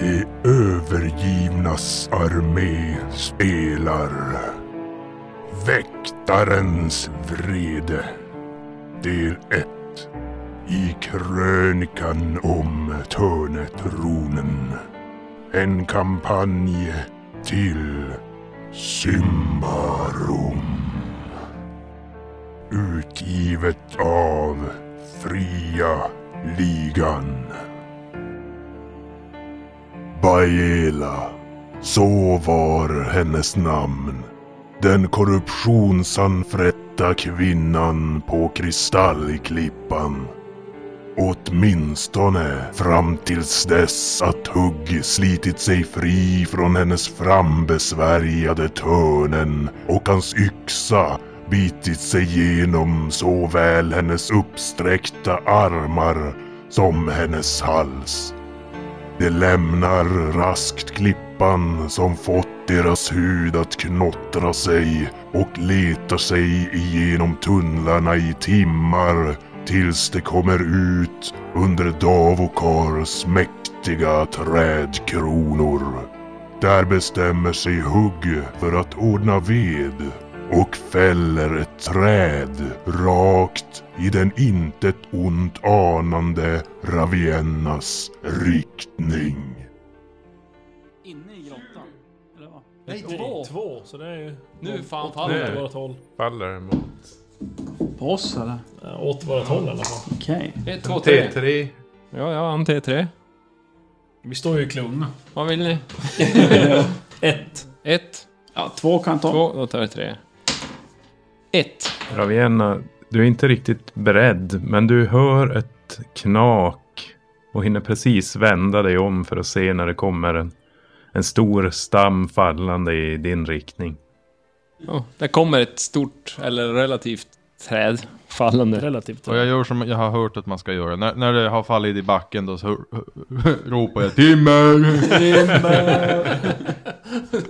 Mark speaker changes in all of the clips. Speaker 1: De övergivnas armé spelar Väktarens vrede Del 1 I krönikan om Törnetronen En kampanj till Symbarum Utgivet av Fria Ligan Baela. Så var hennes namn. Den korruptionsanfrätta kvinnan på kristallklippan. Åtminstone fram tills dess att Hugg slitit sig fri från hennes frambesvärjade törnen och hans yxa bitit sig genom såväl hennes uppsträckta armar som hennes hals. De lämnar raskt klippan som fått deras hud att knottra sig och letar sig igenom tunnlarna i timmar tills de kommer ut under Davokars mäktiga trädkronor. Där bestämmer sig Hugg för att ordna ved och fäller ett träd rakt i den intet ont anande Raviennas riktning.
Speaker 2: Inne i grottan? Eller vad?
Speaker 3: Nej,
Speaker 2: två.
Speaker 3: två. två! Så det är ju...
Speaker 4: Nu fan
Speaker 3: åt,
Speaker 4: faller
Speaker 3: åt
Speaker 4: det.
Speaker 3: vårat håll.
Speaker 4: Faller mot...
Speaker 2: På oss eller?
Speaker 3: Eh, Åt vårat håll i alla fall.
Speaker 2: Okej.
Speaker 4: Ett, två, tre.
Speaker 5: T3.
Speaker 4: Ja, jag vann T3.
Speaker 3: Vi står ju i klungorna.
Speaker 4: Vad vill ni?
Speaker 3: Ett.
Speaker 4: Ett,
Speaker 2: Ja, två kan ta.
Speaker 4: två, då tar jag tre. Ett.
Speaker 5: Ravienna, du är inte riktigt beredd, men du hör ett knak och hinner precis vända dig om för att se när det kommer en, en stor stam fallande i din riktning.
Speaker 4: Ja, där kommer ett stort, eller relativt, träd fallande.
Speaker 3: Relativt.
Speaker 6: Och jag gör som jag har hört att man ska göra. När, när det har fallit i backen då så ropar jag Timmer!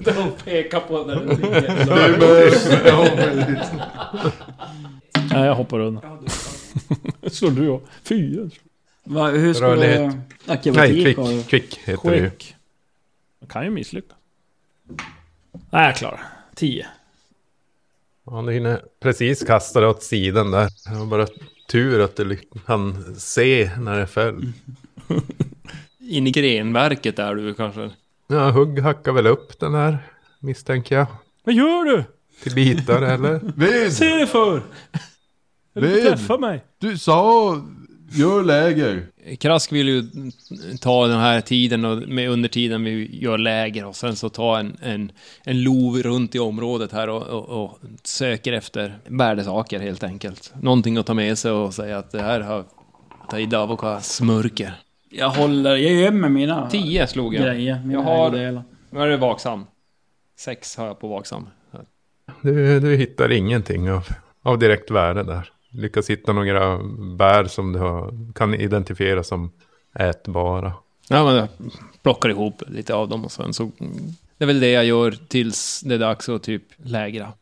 Speaker 4: Där de pekar på där det ligger.
Speaker 3: Nej, jag hoppar undan. Slår du av? Fyra.
Speaker 2: Va, hur ska
Speaker 6: Rörlighet.
Speaker 2: du...
Speaker 6: Nej,
Speaker 2: Akrobatik
Speaker 6: kvick,
Speaker 2: har du.
Speaker 6: kvick heter det ju.
Speaker 3: Quick. Man kan ju misslyckas. Nej, jag klarar. Tio.
Speaker 5: Ja, du hinner precis kasta dig åt sidan där. Det var bara tur att du hann se när det
Speaker 3: Mm.
Speaker 5: föll.
Speaker 4: In i grenverket är du kanske.
Speaker 5: Ja, Hugg hackar väl upp den här, misstänker jag.
Speaker 3: Vad gör du?
Speaker 5: Till bitar eller?
Speaker 3: Se
Speaker 6: Ved!
Speaker 3: dig för! Eller du
Speaker 6: Ved!
Speaker 3: träffa mig.
Speaker 6: Du sa gör läger!
Speaker 4: Krask vill ju ta den här tiden och med under tiden vi gör läger och sen så ta en, en, en lov runt i området här och, och, och söker efter värdesaker helt enkelt. Någonting att ta med sig och säga att det här har Taidavoka smörker.
Speaker 2: Jag håller... Jag gömmer mina...
Speaker 4: Tio slog jag.
Speaker 2: Grejer. Mina
Speaker 4: Jag har-
Speaker 2: ägodelar.
Speaker 4: Nu är det vaksam. Sex har jag på vaksam.
Speaker 5: Du, du hittar ingenting av, av direkt värde där. Lyckas hitta några bär som du har, kan identifiera som ätbara.
Speaker 4: Ja, men jag plockar ihop lite av dem och sen så... Det är väl det jag gör tills det är dags att typ lägra.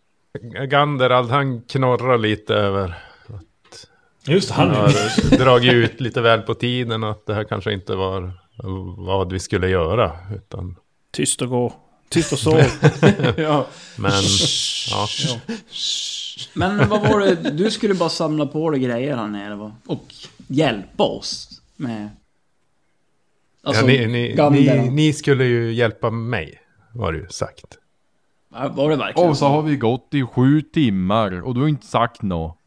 Speaker 5: Ganderald, han knorrar lite över.
Speaker 3: Just det, han
Speaker 5: Han
Speaker 3: är
Speaker 5: har dragit ut lite väl på tiden och att det här kanske inte var vad vi skulle göra. Utan,
Speaker 3: Tyst och gå. Tyst och sov.
Speaker 4: ja.
Speaker 5: men ja,
Speaker 2: Men vad var det? Du skulle bara samla på dig grejer här nere va? Och hjälpa oss med...
Speaker 7: Alltså,
Speaker 2: Alltså,
Speaker 5: ja, ni, ni,
Speaker 2: Gandera.
Speaker 5: ni, ni skulle ju hjälpa mig, var det ju sagt.
Speaker 2: Var det verkligen
Speaker 6: Och så har vi gått i sju timmar och du har inte sagt nå.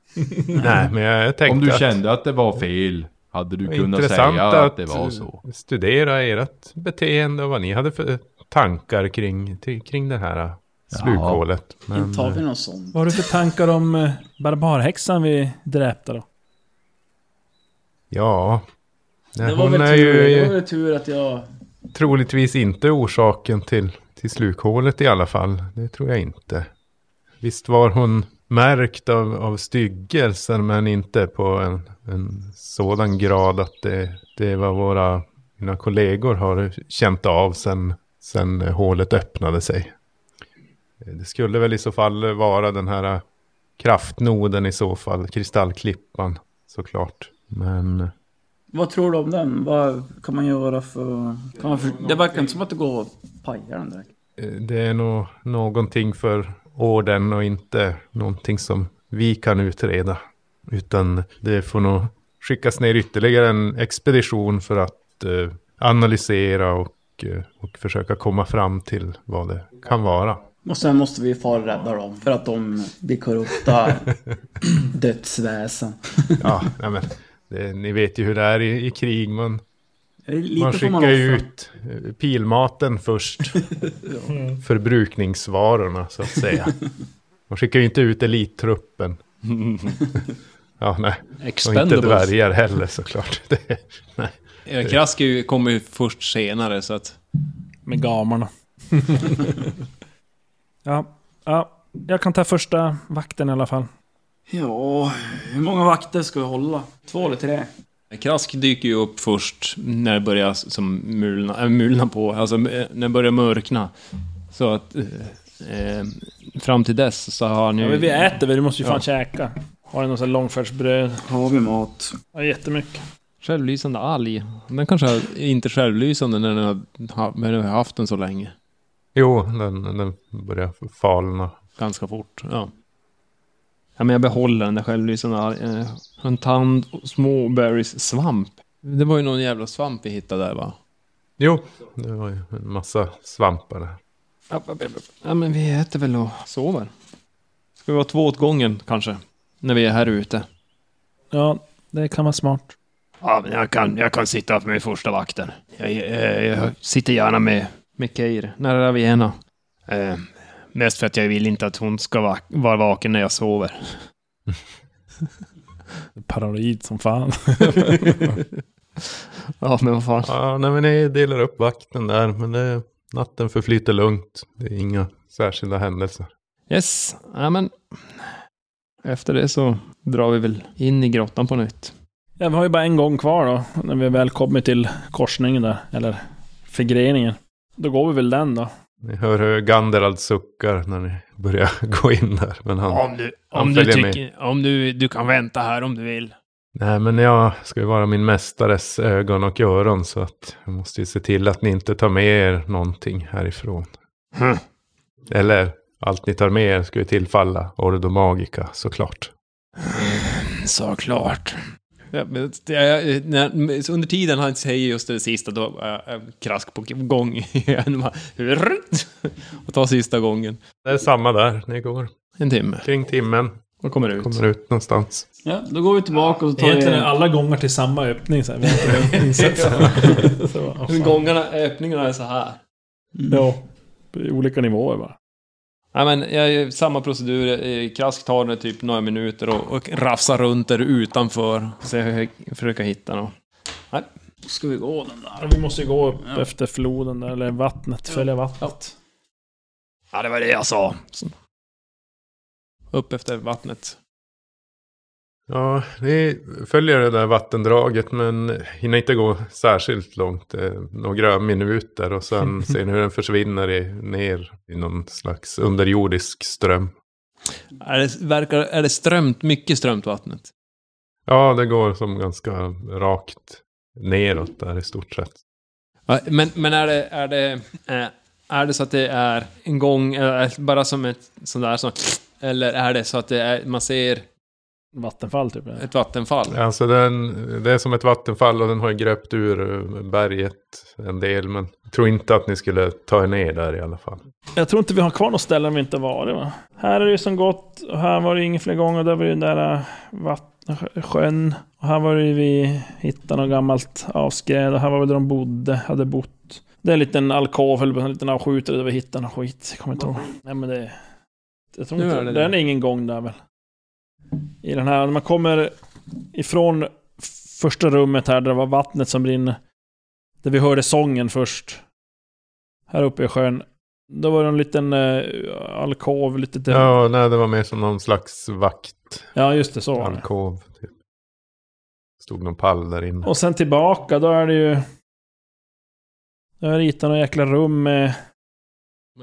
Speaker 5: Nej, men jag tänkte
Speaker 6: Om du
Speaker 5: att-
Speaker 6: kände att det var fel hade du kunnat
Speaker 5: Intressant
Speaker 6: säga
Speaker 5: att,
Speaker 6: att det var
Speaker 3: Mm.
Speaker 6: så.
Speaker 5: studera ert beteende och vad ni hade för tankar kring, till- kring det här slukhålet. Men,
Speaker 2: Inte har vi någon sån.
Speaker 3: Vad har du för tankar om eh, barbarhäxan vi dräpte då?
Speaker 5: ja,
Speaker 2: Det
Speaker 5: Nej,
Speaker 2: var
Speaker 5: hon
Speaker 2: väl
Speaker 5: är
Speaker 2: tur, det var
Speaker 5: ju
Speaker 2: väl tur att jag...
Speaker 5: troligtvis inte orsaken till, till slukhålet i alla fall. Det tror jag inte. Visst var hon märkt av, av styggelser men inte på en, en sådan grad att det, det var våra mina kollegor har känt av sen, sen hålet öppnade sig. Det skulle väl i så fall vara den här kraftnoden i så fall, kristallklippan såklart. Men
Speaker 7: Vad tror du om den? Vad kan man göra för... Kan man för... Det verkar inte som att det går att paja den direkt.
Speaker 5: Eh, Det är nog någonting för orden och inte någonting som vi kan utreda. Utan det får nog skickas ner ytterligare en expedition för att eh, analysera och, eh, och försöka komma fram till vad det kan vara.
Speaker 7: Och sen måste vi fara och rädda dem för att de blir korrupta dödsväsen.
Speaker 5: Ja, nej men, det, ni vet ju hur det är i, i krig. Man,
Speaker 7: Lite
Speaker 5: man
Speaker 7: får
Speaker 5: skickar
Speaker 7: offra.
Speaker 5: ut eh, pilmaten först. Förbrukningsvarorna så att säga. Man skickar ju inte ut elittruppen. ja, nej. Och inte
Speaker 8: Expendables.
Speaker 5: dvärgar heller såklart. Det, nej.
Speaker 8: Eh, Krask är ju- kommer ju först senare så att...
Speaker 3: Med gamarna. ja, ja, jag kan ta första vakten i alla fall.
Speaker 7: Ja, hur många vakter ska vi hålla? Två eller tre?
Speaker 8: Krask dyker ju upp först när det börjar som mulna, äh, mulna på, alltså eh, när det börjar mörkna. Så att... Eh, eh, fram till dess så har han ju...
Speaker 3: Ja, men vi äter väl, du måste ju fan
Speaker 8: Ja.
Speaker 3: käka. Har du någon sån här långfärdsbröd?
Speaker 7: Har vi mat?
Speaker 3: Ja, jättemycket.
Speaker 8: Självlysande alg. Den kanske är inte självlysande när den har, ha- men den har haft den så länge.
Speaker 5: Jo, den, den börjar falna.
Speaker 8: Ganska fort. Ja. ja men jag behåller den där självlysande algen. Eh, En tand och små berries svamp. Det var ju någon jävla svamp vi hittade där va?
Speaker 5: Jo, det var ju en massa svampar där.
Speaker 8: App, app, app, app. Ja men vi äter väl och sover. Ska vi vara två åt gången kanske? När vi är här ute.
Speaker 3: Ja, det kan vara smart.
Speaker 8: Ja men jag kan, jag kan sitta med första vakten. Jag, jag, jag sitter gärna med, med Keir, nära Raviena. Eh, mest för att jag vill inte att hon ska va- vara vaken när jag sover.
Speaker 3: Paranoid som fan.
Speaker 8: Ja men vad fan.
Speaker 5: Ja, nej men ni delar upp vakten där. Men det, natten förflyter lugnt. Det är inga särskilda händelser.
Speaker 8: Yes, ja men. Efter det så drar vi väl in i grottan på nytt.
Speaker 3: Ja, vi har ju bara en gång kvar då, när vi väl kommer till korsningen där, eller förgreningen. Då går vi väl den då.
Speaker 5: Ni hör hur Ganderald suckar när ni börjar gå in där. Men han...
Speaker 8: du,
Speaker 5: Han följer med.
Speaker 8: om du, du kan vänta här om du vill.
Speaker 5: Nej, men jag ska ju vara min mästares ögon och öron. Så att jag måste ju se till att ni inte tar med er någonting härifrån.
Speaker 8: Hm.
Speaker 5: Eller, allt ni tar med er ska ju tillfalla Ordo Magica såklart.
Speaker 8: Såklart. Ja, men det är- när- så under tiden han säger just det sista, då är äh, krask på gång igen. Bara, "Rutt!" Och tar sista gången.
Speaker 5: Det är samma där, ni går
Speaker 8: En timme.
Speaker 5: kring timmen.
Speaker 8: Och kommer ut.
Speaker 5: Kommer ut någonstans.
Speaker 7: Ja, då går vi tillbaka och så tar vi...
Speaker 3: alla gånger till samma öppning sen.
Speaker 8: Gångarna, öppningarna är så här.
Speaker 3: Ja, på olika nivåer bara.
Speaker 8: Ja, men jag gör samma procedur. eh, Krask tar det typ några minuter och, och rafsar runt där utanför. Så jag försöker hitta något.
Speaker 7: Ska vi gå den där?
Speaker 3: Vi måste ju gå upp
Speaker 7: Ja.
Speaker 3: efter floden där, eller vattnet, följa vattnet.
Speaker 8: Ja, det var det jag sa. Så. Upp efter vattnet.
Speaker 5: Ja, ni följer det där vattendraget men hinner inte gå särskilt långt. eh, Några minuter och sen ser ni hur den försvinner i, ner i någon slags underjordisk ström.
Speaker 8: Är det, verkar, är det strömt, mycket strömt vattnet?
Speaker 5: Ja, det går som ganska rakt neråt där i stort sett.
Speaker 8: Ja, men, men är det, är det, eh, är det så att det är en gång, eh, bara som ett sånt där som... Eller är det så att det är, man ser
Speaker 3: Vattenfall typ.
Speaker 8: ett vattenfall?
Speaker 5: Alltså den, det är som ett vattenfall och den har ju gröpt ur eh, berget en del. Men jag tror inte att ni skulle ta er ner där i alla fall.
Speaker 3: Jag tror inte vi har kvar något ställe vi inte har varit va? Här är det ju som gått, och här var det inga fler gånger, och där var det den där äh, vatt- sjö- sjön. Och här var det ju vi hittade något gammalt avskräd, och här var väl där de bodde, hade bott. Det är en liten alkov, eller en liten avskjutare där vi hittade någon skit, jag kommer inte ihåg. Nej men det... Jag tror
Speaker 8: Nu
Speaker 3: inte,
Speaker 8: är det det.
Speaker 3: den är ingen gång där väl? I den här, när man kommer ifrån första rummet här, där det var vattnet som brinner. Där vi hörde sången först. Här uppe i sjön. Då var det en liten eh, alkov, lite...
Speaker 5: Ja, nej, det var mer som någon slags
Speaker 3: Ja, just det, så var det.
Speaker 5: vaktalkov. Typ. Stod någon pall där inne.
Speaker 3: Och sen tillbaka, då är det ju... Då har jag ritat några jäkla rum med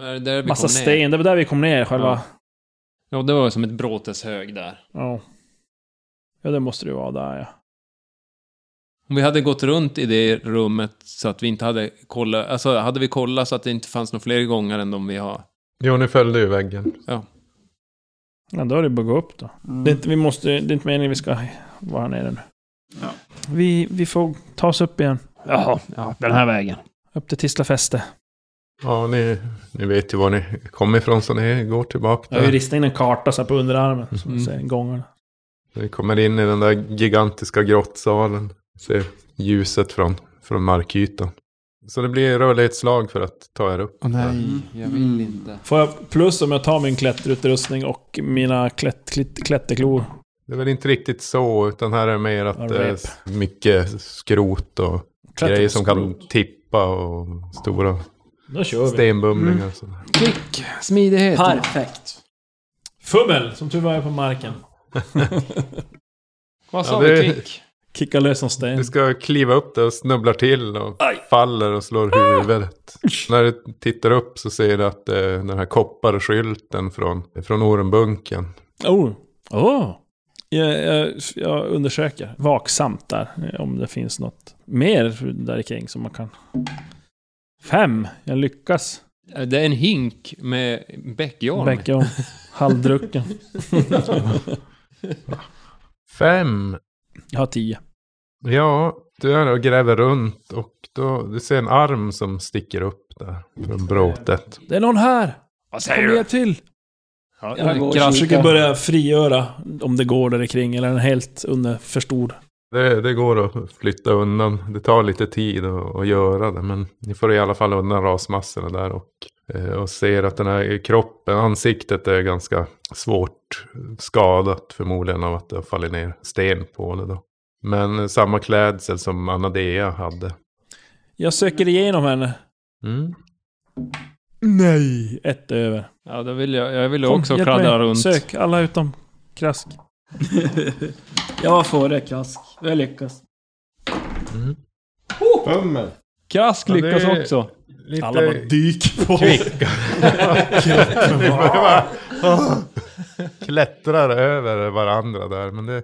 Speaker 8: Är det där vi
Speaker 3: massa
Speaker 8: kom ner?
Speaker 3: sten. Det var där vi kom ner själva.
Speaker 8: Ja, det var som ett bråteshög där.
Speaker 3: Ja. Ja, det måste det ju vara där ja.
Speaker 8: Om vi hade gått runt i det rummet så att vi inte hade kollat, alltså hade vi kollat så att det inte fanns några fler gånger än de vi har.
Speaker 5: Jo, nu följde ju väggen.
Speaker 3: Ja, då är det bara att gå upp
Speaker 7: Mm.
Speaker 3: då. Det, är inte- vi måste, det är inte meningen vi ska vara här nere nu.
Speaker 7: Ja.
Speaker 3: Vi, vi får ta oss upp igen.
Speaker 4: Jaha, ja, den här vägen.
Speaker 3: Upp till Tisla fäste.
Speaker 5: Ja, ni, ni vet ju var ni kommer ifrån så ni går tillbaka
Speaker 3: Jag har ju
Speaker 5: där.
Speaker 3: ristat in en karta så här på underarmen. Som
Speaker 8: Mm.
Speaker 3: mm. ser gångarna.
Speaker 5: Ni kommer in i den där gigantiska grottsalen. Ser ljuset från, från markytan. Så det blir rörlighetsslag för att ta er upp.
Speaker 4: Åh
Speaker 7: Mm. jag vill inte.
Speaker 3: Får jag plus om jag tar min klätterutrustning och mina klätt, klitt, klätterklor?
Speaker 5: Det är väl inte riktigt så, utan här är mer att
Speaker 3: Ja,
Speaker 5: det är
Speaker 3: rep.
Speaker 5: mycket skrot och
Speaker 3: Klätter-
Speaker 5: grejer som kan tippa och stora
Speaker 3: Då kör vi. Mm.
Speaker 5: stenbumlingar. och sådär.
Speaker 8: Klick! Smidighet!
Speaker 7: Perfekt.
Speaker 3: Fummel! Som tur var jag på marken.
Speaker 8: Vad sa
Speaker 5: Ja, det-
Speaker 8: vi? Klick!
Speaker 3: Kicka lös som sten.
Speaker 5: Du ska kliva upp där och snubblar till och faller och slår huvudet. När du tittar upp så ser du att eh, den här kopparskylten från, från Ormbunken.
Speaker 3: Oh! Oh! Jag, jag, jag undersöker vaksamt där eh, om det finns något mer där kring som man kan... Fem! Jag lyckas.
Speaker 8: Eh, Det är en hink med bäckjarn.
Speaker 3: Bäcka om. Halvdrucken.
Speaker 5: Fem.
Speaker 3: Jag har tio.
Speaker 5: Ja, du är och gräver runt och då, du ser en arm som sticker upp där från bråtet.
Speaker 3: Det är någon här!
Speaker 4: Vad
Speaker 3: Kom
Speaker 4: säger du?
Speaker 3: ner till!
Speaker 4: Ja,
Speaker 7: Jag går och
Speaker 3: Jag försöker
Speaker 7: kikar.
Speaker 3: börja frigöra om det går där kring eller den är helt under för stor.
Speaker 5: Det, det går att flytta undan. Det tar lite tid att, att göra det. Men ni får i alla fall undan rasmassorna där. Och, eh, och ser att den här kroppen, ansiktet är ganska svårt skadat. Förmodligen av att det har fallit ner sten på det då. Men eh, samma klädsel som Anadea hade.
Speaker 3: Jag söker igenom henne.
Speaker 5: Mm.
Speaker 3: Nej! Ett över.
Speaker 8: Ja, då vill jag, jag vill
Speaker 3: Kom,
Speaker 8: också
Speaker 3: hjälp
Speaker 8: kladdra
Speaker 3: mig.
Speaker 8: runt.
Speaker 3: Sök, alla utom Krask.
Speaker 7: jag var före Krask. Jag lyckas.
Speaker 5: Mm.
Speaker 6: Fummel.
Speaker 8: Krask
Speaker 5: Ja, det-
Speaker 8: lyckas också.
Speaker 5: Lite
Speaker 3: Alla bara dyk på.
Speaker 5: klättrar över varandra där. Men det,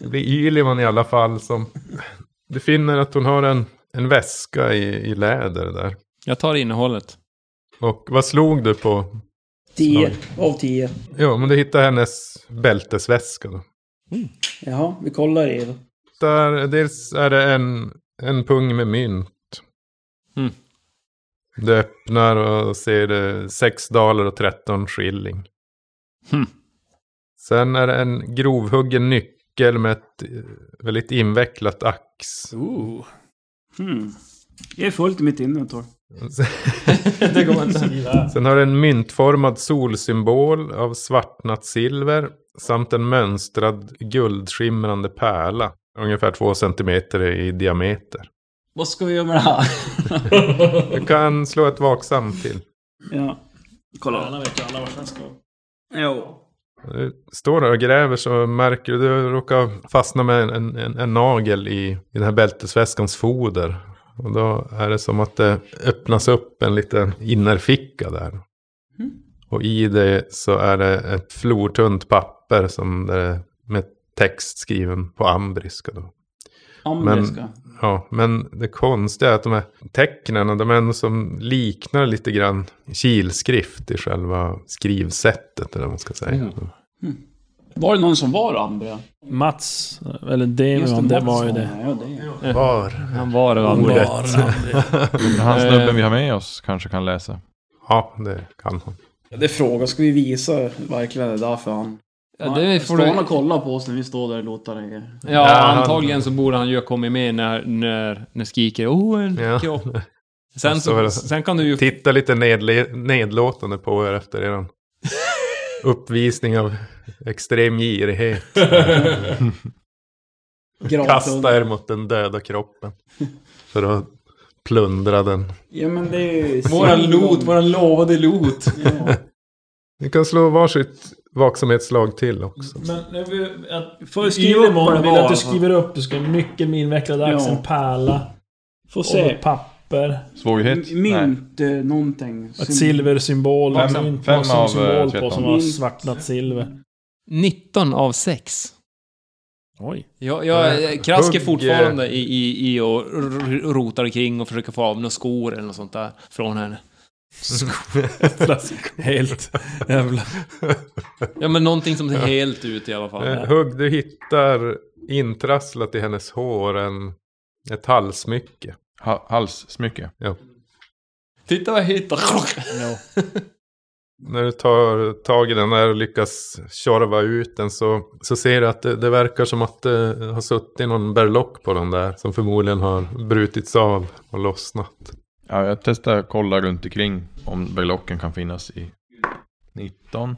Speaker 5: det blir Yliman i alla fall som... Du finner att hon har en, en väska i, i läder där.
Speaker 8: Jag tar innehållet.
Speaker 5: Och vad slog du på?
Speaker 7: Tio av tio.
Speaker 5: Jo, men du hittar hennes bältesväska då.
Speaker 7: Jaha, vi kollar i det.
Speaker 5: Där, dels är det en, en pung med mynt.
Speaker 8: Mm.
Speaker 5: Du öppnar och ser det 6 daler och 13 skilling.
Speaker 8: Hmm.
Speaker 5: Sen är det en grovhuggen nyckel med ett eh, väldigt invecklat ax.
Speaker 8: Oh.
Speaker 3: Ooh.
Speaker 7: Hmm. Jag är fullt i mitt inventor.
Speaker 8: det går inte.
Speaker 5: Sen har du en myntformad solsymbol av svartnat silver samt en mönstrad guldskimrande pärla. Ungefär två centimeter i diameter.
Speaker 7: Vad ska vi göra med det här?
Speaker 5: Du kan slå ett vaksamt till.
Speaker 7: ja. Kolla.
Speaker 3: Alla vet ju alla vart den ska.
Speaker 7: Jo.
Speaker 5: Du står där och gräver så märker du att du råkar fastna med en, en, en nagel i, i den här bältesväskans foder. Och då är det som att det öppnas upp en liten innerficka där. Och i det så är det ett flortunt papper som det är med text skriven på ambriska. Då.
Speaker 7: Ambriska.
Speaker 5: Ja, men det konstiga är att de här tecknen, de är ändå som liknar lite grann kilskrift i själva skrivsättet. Eller vad man ska säga.
Speaker 7: Var det någon som var Ambria?
Speaker 3: Mats, eller Demon, det var ju det.
Speaker 7: Ja, det.
Speaker 5: Var?
Speaker 8: Han var det
Speaker 5: Ordet.
Speaker 8: andra.
Speaker 6: Han
Speaker 3: Eh.
Speaker 6: snubben vi har med oss kanske kan läsa.
Speaker 5: Ja, det kan hon.
Speaker 7: Ja, det är frågan. Ska vi visa verkligen det där för han?
Speaker 8: Ja, det får
Speaker 7: Står han
Speaker 8: du...
Speaker 7: och kollar på oss när vi står där och låter det?
Speaker 8: Ja,
Speaker 5: han-
Speaker 8: antagligen så borde han ju ha kommit med när, när, när skriker oh, en
Speaker 5: Ja.
Speaker 8: kropp. Sen,
Speaker 5: Så är
Speaker 8: så,
Speaker 5: det.
Speaker 8: sen kan du ju...
Speaker 5: Titta lite nedle- nedlåtande på er efter er uppvisning av extrem girighet. Kasta er mot den döda kroppen. För att plundra den.
Speaker 7: Ja men det är ju...
Speaker 8: Våran lot, våran lovade lot.
Speaker 7: Ja.
Speaker 5: Ni kan slå varsitt vaksamhetslag till också.
Speaker 3: Men nu vill jag...
Speaker 7: Får vi skriva upp vad
Speaker 3: Ylemon
Speaker 7: det
Speaker 3: vill
Speaker 7: var,
Speaker 3: att du
Speaker 7: alltså?
Speaker 3: skriver upp. Du ska ha en nyckel med invecklad ax,
Speaker 7: Ja.
Speaker 3: en pärla.
Speaker 7: Får
Speaker 3: Och
Speaker 7: se.
Speaker 3: papper.
Speaker 6: Svårighet?
Speaker 7: M- Mynt eh, någonting.
Speaker 3: Ett silversymbol.
Speaker 6: Fem-
Speaker 3: som inte
Speaker 6: fem
Speaker 3: var som
Speaker 6: av, eh,
Speaker 3: symbol på
Speaker 6: tretton.
Speaker 3: som var svartnat silver.
Speaker 8: 19 av 6.
Speaker 3: Oj.
Speaker 8: Jag, jag krask är
Speaker 5: Hugg,
Speaker 8: fortfarande i, i, i och r- rotar kring och försöker få av några skor eller något sånt där från henne.
Speaker 3: Helt jävla...
Speaker 8: Ja men någonting som ser helt ut i alla
Speaker 5: Eh,
Speaker 8: fall.
Speaker 5: Hugg, du hittar intrasslat i hennes hår en, ett halsmycke.
Speaker 6: Ha, halssmycke.
Speaker 8: Titta vad jag hittar!
Speaker 5: När du tar tag i den där och lyckas tjorva ut den så, så ser du att det, det verkar som att det har suttit någon berlock på den där. Som förmodligen har brutits av och lossnat.
Speaker 6: Ja, jag testar att kolla runt omkring om berlocken kan finnas i 19.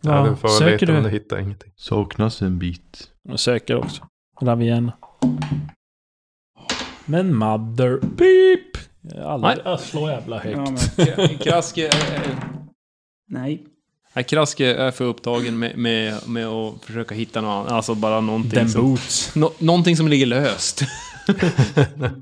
Speaker 5: Ja,
Speaker 3: Ja,
Speaker 5: den får
Speaker 3: söker
Speaker 5: leta om du
Speaker 3: du?
Speaker 5: hittar ingenting.
Speaker 6: Saknas en bit.
Speaker 3: Jag söker också. Rav igen. Men mother... Beep! Jag är Aldrig... Jag slår jävla högt.
Speaker 7: Ja, men,
Speaker 8: Krask är, är,
Speaker 7: nej.
Speaker 8: är, krask är för upptagen med, med, med att försöka hitta någon, alltså bara någonting
Speaker 3: Den
Speaker 8: som,
Speaker 3: boots.
Speaker 8: nå- någonting som ligger löst.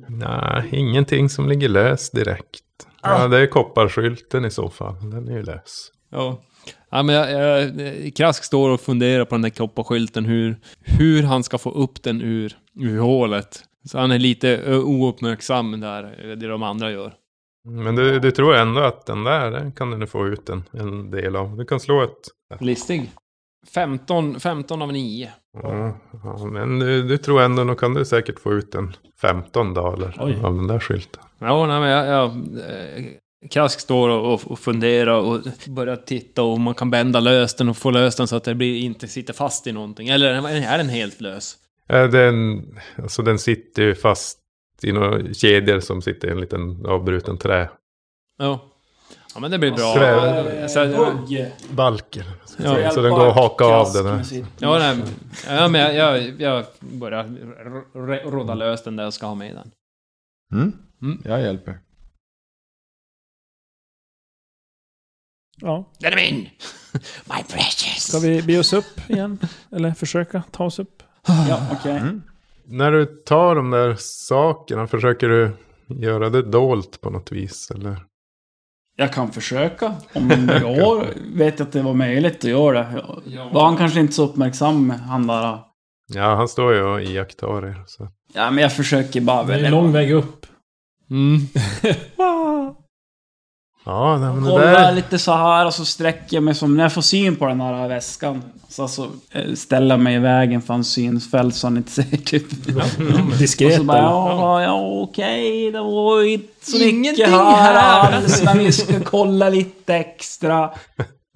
Speaker 5: Nej, ingenting som ligger lös direkt. Ja, det är kopparskylten i så fall. Den är ju lös.
Speaker 8: Ja. Ja, men jag, jag, Krask står och funderar på den där kopparskylten, hur, hur han ska få upp den ur, ur hålet. Så han är lite ö, ouppmärksam där, eh, det de andra gör.
Speaker 5: Men du, du tror ändå att den där den kan du nu få ut en, en del av. Du kan slå ett...
Speaker 8: Listig. 15, 15 av 9.
Speaker 5: Ja, ja, men du, du tror ändå nog kan du säkert få ut en 15 daler
Speaker 3: Oj.
Speaker 5: av den där skylten.
Speaker 8: Ja, nej, men jag, jag, eh, Krask står och, och- och funderar och börjar titta om man kan bända lös den och få lös den så att den blir, inte sitter fast i någonting. Eller är den helt lös?
Speaker 5: Eh, Den, alltså den sitter ju fast i några kedjor som sitter i en liten avbruten träbalk.
Speaker 8: Ja. Ja, men det blir bra.
Speaker 5: Trä-
Speaker 8: Så att-
Speaker 5: Ja, så den går att haka av den här.
Speaker 8: Ja, nej, ja men jag, jag, jag börjar r- r- råda lös den där jag ska ha med den.
Speaker 6: Mm?
Speaker 8: Mm.
Speaker 6: Jag hjälper.
Speaker 3: Ja.
Speaker 8: Den är min! My precious!
Speaker 3: Ska vi be oss upp igen? Eller försöka ta oss upp?
Speaker 7: Ja, okej.
Speaker 2: Mm.
Speaker 6: Mm.
Speaker 5: När du tar de där sakerna, försöker du göra det dolt på något vis? Eller?
Speaker 7: Jag kan försöka. Om jag vet jag att det var möjligt att göra det. Var han kanske inte så uppmärksam, han där.
Speaker 5: Ja, han står ju och iakttar er. Så.
Speaker 7: Ja, men jag försöker bara
Speaker 3: Det är en
Speaker 7: väl.
Speaker 3: lång väg upp.
Speaker 8: Mm.
Speaker 5: Ja, nej, men det
Speaker 7: Kollar
Speaker 5: där...
Speaker 7: lite så här och så sträcker jag mig som när jag får syn på den här väskan. Så alltså, eh, ställer jag mig i vägen för hans synsfält så han inte ser typ. Och
Speaker 3: Diskret.
Speaker 7: så bara,
Speaker 3: eller?
Speaker 7: ja, ja okej, det var ju inte så
Speaker 8: Ingenting
Speaker 7: mycket här,
Speaker 8: här.
Speaker 7: alls, men vi ska kolla lite extra.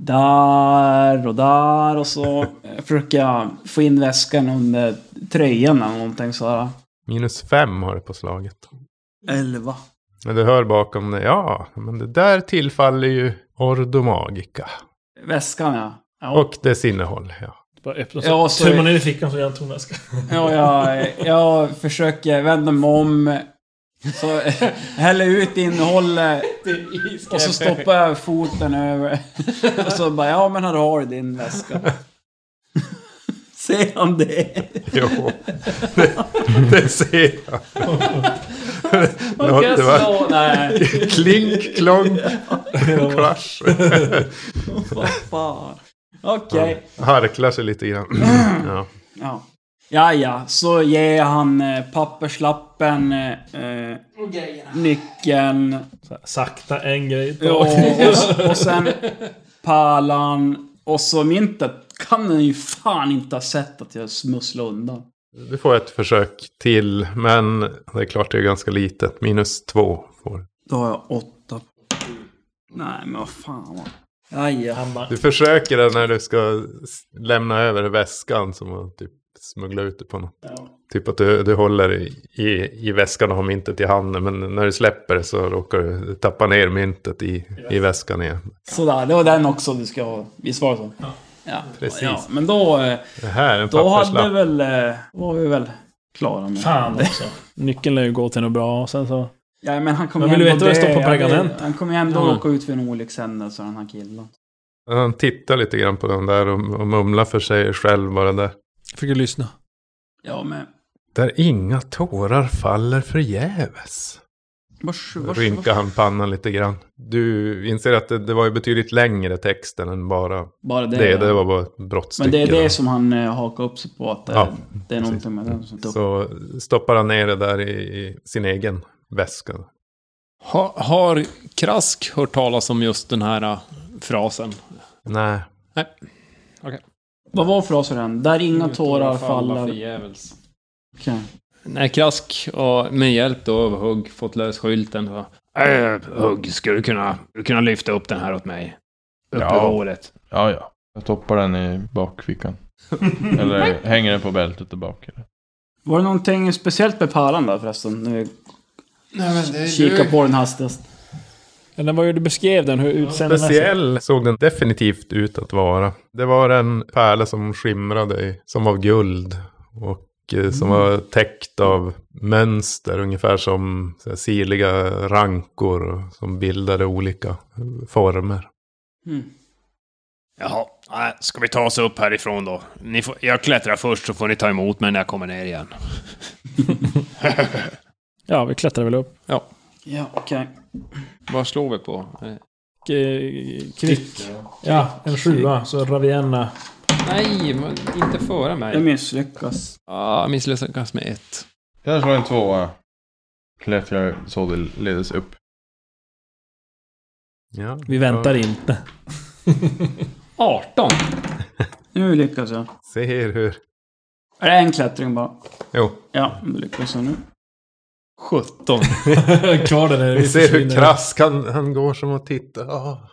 Speaker 7: Där och där och så försöker jag få in väskan under tröjan eller någonting så här.
Speaker 5: Minus fem har du på slaget.
Speaker 7: Elva.
Speaker 5: Men du hör bakom dig, ja, men det där tillfaller ju Ordo Magica.
Speaker 7: Väskan ja. Ja,
Speaker 5: Och dess innehåll, ja.
Speaker 3: Bara öppna så.
Speaker 7: ja,
Speaker 3: Tummar
Speaker 7: så,
Speaker 3: ner i fickan så gör jag en tomväska.
Speaker 7: ja jag, jag försöker vända mig om. Så häller ut innehållet och så stoppar jag foten över. Och så bara, ja men här har du din väska. Ser han det?
Speaker 5: Jo, det, det ser jag. Något, det var
Speaker 7: Så, nej.
Speaker 5: klink, klonk, klasch.
Speaker 7: Vad fan. Okej.
Speaker 5: Harklar sig lite grann. Ja.
Speaker 7: Ja. Ja, ja. Så ger jag han eh, papperslappen, eh, nyckeln
Speaker 3: Så här, Sakta en grej.
Speaker 7: ja, och, och sen pärlan. Och så myntet kan den ju fan inte ha sett att jag smusslade undan.
Speaker 5: Du får ett försök till, men det är klart det är ganska litet. Minus två får du.
Speaker 7: Då har jag åtta. Nej, men vad fan. va. Ja, ja.
Speaker 3: Hamna.
Speaker 5: Du försöker det när du ska s- lämna över väskan som att typ smuggla ut det på något. Typ att du, du håller i- i, i väskan och har myntet i handen men när du släpper det så råkar du tappa ner myntet i, i väskan igen.
Speaker 7: Sådär, det var den också du ska ha. Visst var det så? Ja.
Speaker 5: Precis.
Speaker 7: Ja, men då, eh,
Speaker 5: Det här är en
Speaker 7: då hade
Speaker 5: papperslapp.
Speaker 7: väl... eh, var vi väl klara med.
Speaker 3: Fan också. Nyckeln lär ju gå till något bra och sen så...
Speaker 7: Ja, men han kommer
Speaker 3: Men
Speaker 7: ju
Speaker 3: vill du
Speaker 7: ändå
Speaker 3: veta vad det
Speaker 7: dö.
Speaker 3: står på
Speaker 7: Han vill-
Speaker 3: pergament?
Speaker 7: Han kommer ju ändå
Speaker 8: Ja.
Speaker 7: åka ut för en olyckshändelse, den här killen.
Speaker 5: Han tittar lite grann på den där och, och mumlar för sig själv bara där.
Speaker 8: Fick du lyssna?
Speaker 7: Ja, men...
Speaker 5: Där inga tårar faller förgäves.
Speaker 2: Vars, vars, vars.
Speaker 5: Rynkar han pannan lite grann. Du inser att det, det var ju betydligt längre texten än bara
Speaker 2: Bara det.
Speaker 5: det. Det,
Speaker 2: ja.
Speaker 5: var bara ett brottsstycke.
Speaker 2: Men det är
Speaker 5: då.
Speaker 2: det som han eh, hakar upp sig på. Att det,
Speaker 5: Ja,
Speaker 2: det är någonting med den som
Speaker 3: Typ.
Speaker 2: tar upp.
Speaker 5: Så stoppar han ner det där i, i sin egen väska.
Speaker 4: Ha, har Krask hört talas om just den här eh, frasen?
Speaker 5: Nej,
Speaker 2: Vad var frasen? den? Där inga tårar faller.
Speaker 4: förgäves.
Speaker 2: Okej.
Speaker 4: När Krask och med hjälp då av Hugg fått lös skylten. Va?
Speaker 8: Äh, Hugg, skulle du kunna, du kunna lyfta upp den här åt mig? Uppe
Speaker 6: Ja.
Speaker 8: ja. håret.
Speaker 6: Ja, ja. Jag toppar den i bakfickan. eller hänger den på bältet där bak. Eller?
Speaker 2: Var det någonting speciellt med pärlan där förresten? Nu
Speaker 4: Nej, men
Speaker 2: kika på den hastigast.
Speaker 3: Eller vad var ju du beskrev den, hur utsänd den är.
Speaker 5: speciell såg den definitivt ut att vara. Det var en pärla som skimrade, i- som av guld. Och eh,
Speaker 3: Mm.
Speaker 5: som var täckt av mönster, ungefär som så här, sirliga rankor som bildade olika eh, former.
Speaker 2: Mm.
Speaker 8: Jaha, Nej, ska vi ta oss upp härifrån då? Ni får, jag klättrar först så får ni ta emot mig när jag kommer ner igen.
Speaker 3: Ja, vi klättrar väl upp.
Speaker 2: Ja, okej.
Speaker 4: Vad slår vi på? Eh,
Speaker 3: Och, eh, Kvick. Ja, en sjua. Så Ravienna.
Speaker 4: Nej, men inte före mig.
Speaker 2: Jag misslyckas.
Speaker 4: Ah, misslyckas med ett.
Speaker 6: Jag slår en tvåa. Klättrar så det ledes upp.
Speaker 5: Ja,
Speaker 3: Vi väntar inte.
Speaker 4: 18!
Speaker 2: Nu lyckas jag.
Speaker 5: Ser hur...
Speaker 2: Är det en klättring bara?
Speaker 5: Jo,
Speaker 2: Ja, nu lyckas jag nu.
Speaker 4: 17.
Speaker 3: Kvar där nere.
Speaker 5: vi ser hur
Speaker 3: försvinner.
Speaker 5: krask han, han går som och tittar. Ah,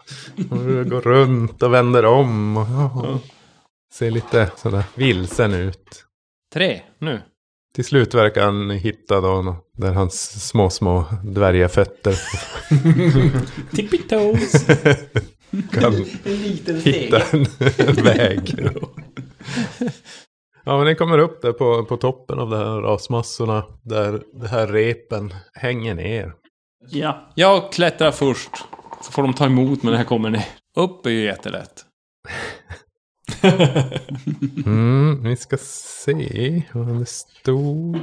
Speaker 5: och går runt och vänder om. Och, ah, ser lite sådär vilsen ut.
Speaker 4: 3 nu.
Speaker 5: Till slut verkar han hitta då nå- där hans små, små dvärgafötter
Speaker 3: Tippy toes.
Speaker 5: kan hitta en väg. Ja, men den kommer upp där på, på toppen av de här rasmassorna där det här repen hänger ner.
Speaker 2: Ja.
Speaker 4: Jag klättrar först. Så får de ta emot mig när jag kommer ner. Upp är ju jättelätt.
Speaker 5: Mm, vi ska se vad det stod.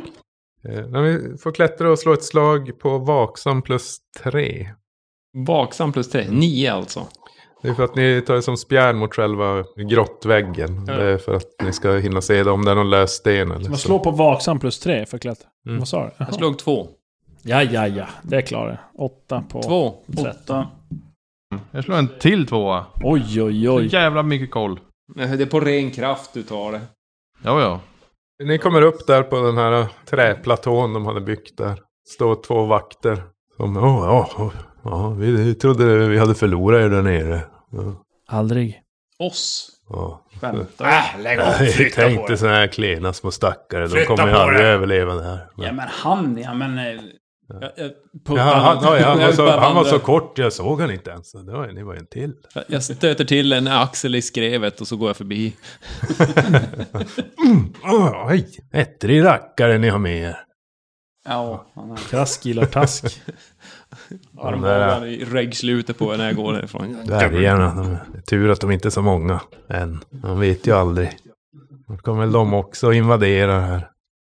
Speaker 5: Eh, men vi får klättra och slå ett slag på vaksam plus tre.
Speaker 4: Vaksam plus 3. 9 alltså.
Speaker 5: Det är för att ni tar er som spjärn mot själva grottväggen. Det är för att ni ska hinna se det om det är någon lös sten eller
Speaker 3: Man
Speaker 5: så.
Speaker 3: slår på vaksam plus tre för att klättra.
Speaker 5: Mm.
Speaker 3: Vad sa du? Jaha.
Speaker 4: Jag slog 2.
Speaker 3: Ja, ja, ja. Det klarar jag. Åtta på
Speaker 4: 2.
Speaker 3: tretton.
Speaker 6: Jag slår en till tvåa.
Speaker 3: Oj, oj,
Speaker 6: Så
Speaker 3: oj.
Speaker 6: jävla mycket koll.
Speaker 4: Det är på ren kraft du tar det.
Speaker 6: Ja, ja.
Speaker 5: Ni kommer upp där på den här eh, träplatån de hade byggt där. Står två vakter. Som, åh, ja, åh, ja, vi trodde vi hade förlorat er där nere. Ja,
Speaker 3: Aldrig.
Speaker 4: Oss.
Speaker 5: ja.
Speaker 8: Äh, lägg av,
Speaker 5: Nej,
Speaker 8: flytta på
Speaker 5: tänkte
Speaker 8: det.
Speaker 5: sådana här klena små stackare. De
Speaker 8: Flytta
Speaker 5: kommer ju
Speaker 8: på
Speaker 5: aldrig
Speaker 8: det.
Speaker 5: överleva det här.
Speaker 2: Ja, men han ja, men... eh,
Speaker 4: Jag, jag
Speaker 5: Ja,
Speaker 4: puttar
Speaker 5: han, ja, han, var
Speaker 4: Jag
Speaker 5: så,
Speaker 4: bara
Speaker 5: han var
Speaker 4: vandrar.
Speaker 5: så kort, jag såg han inte ens. Det var, ni var ju en till.
Speaker 4: Jag- Jag stöter till en axel i skrevet och så går jag förbi.
Speaker 5: Oh, oj, ettrig rackare ni har med er.
Speaker 2: Ja, han är...
Speaker 3: Krask gillar task.
Speaker 4: Armbågarna i reggslutet på när jag går därifrån.
Speaker 5: Dvärgarna, de, det är tur att de inte är så många än. Man vet ju aldrig. Då kommer väl de också invadera det här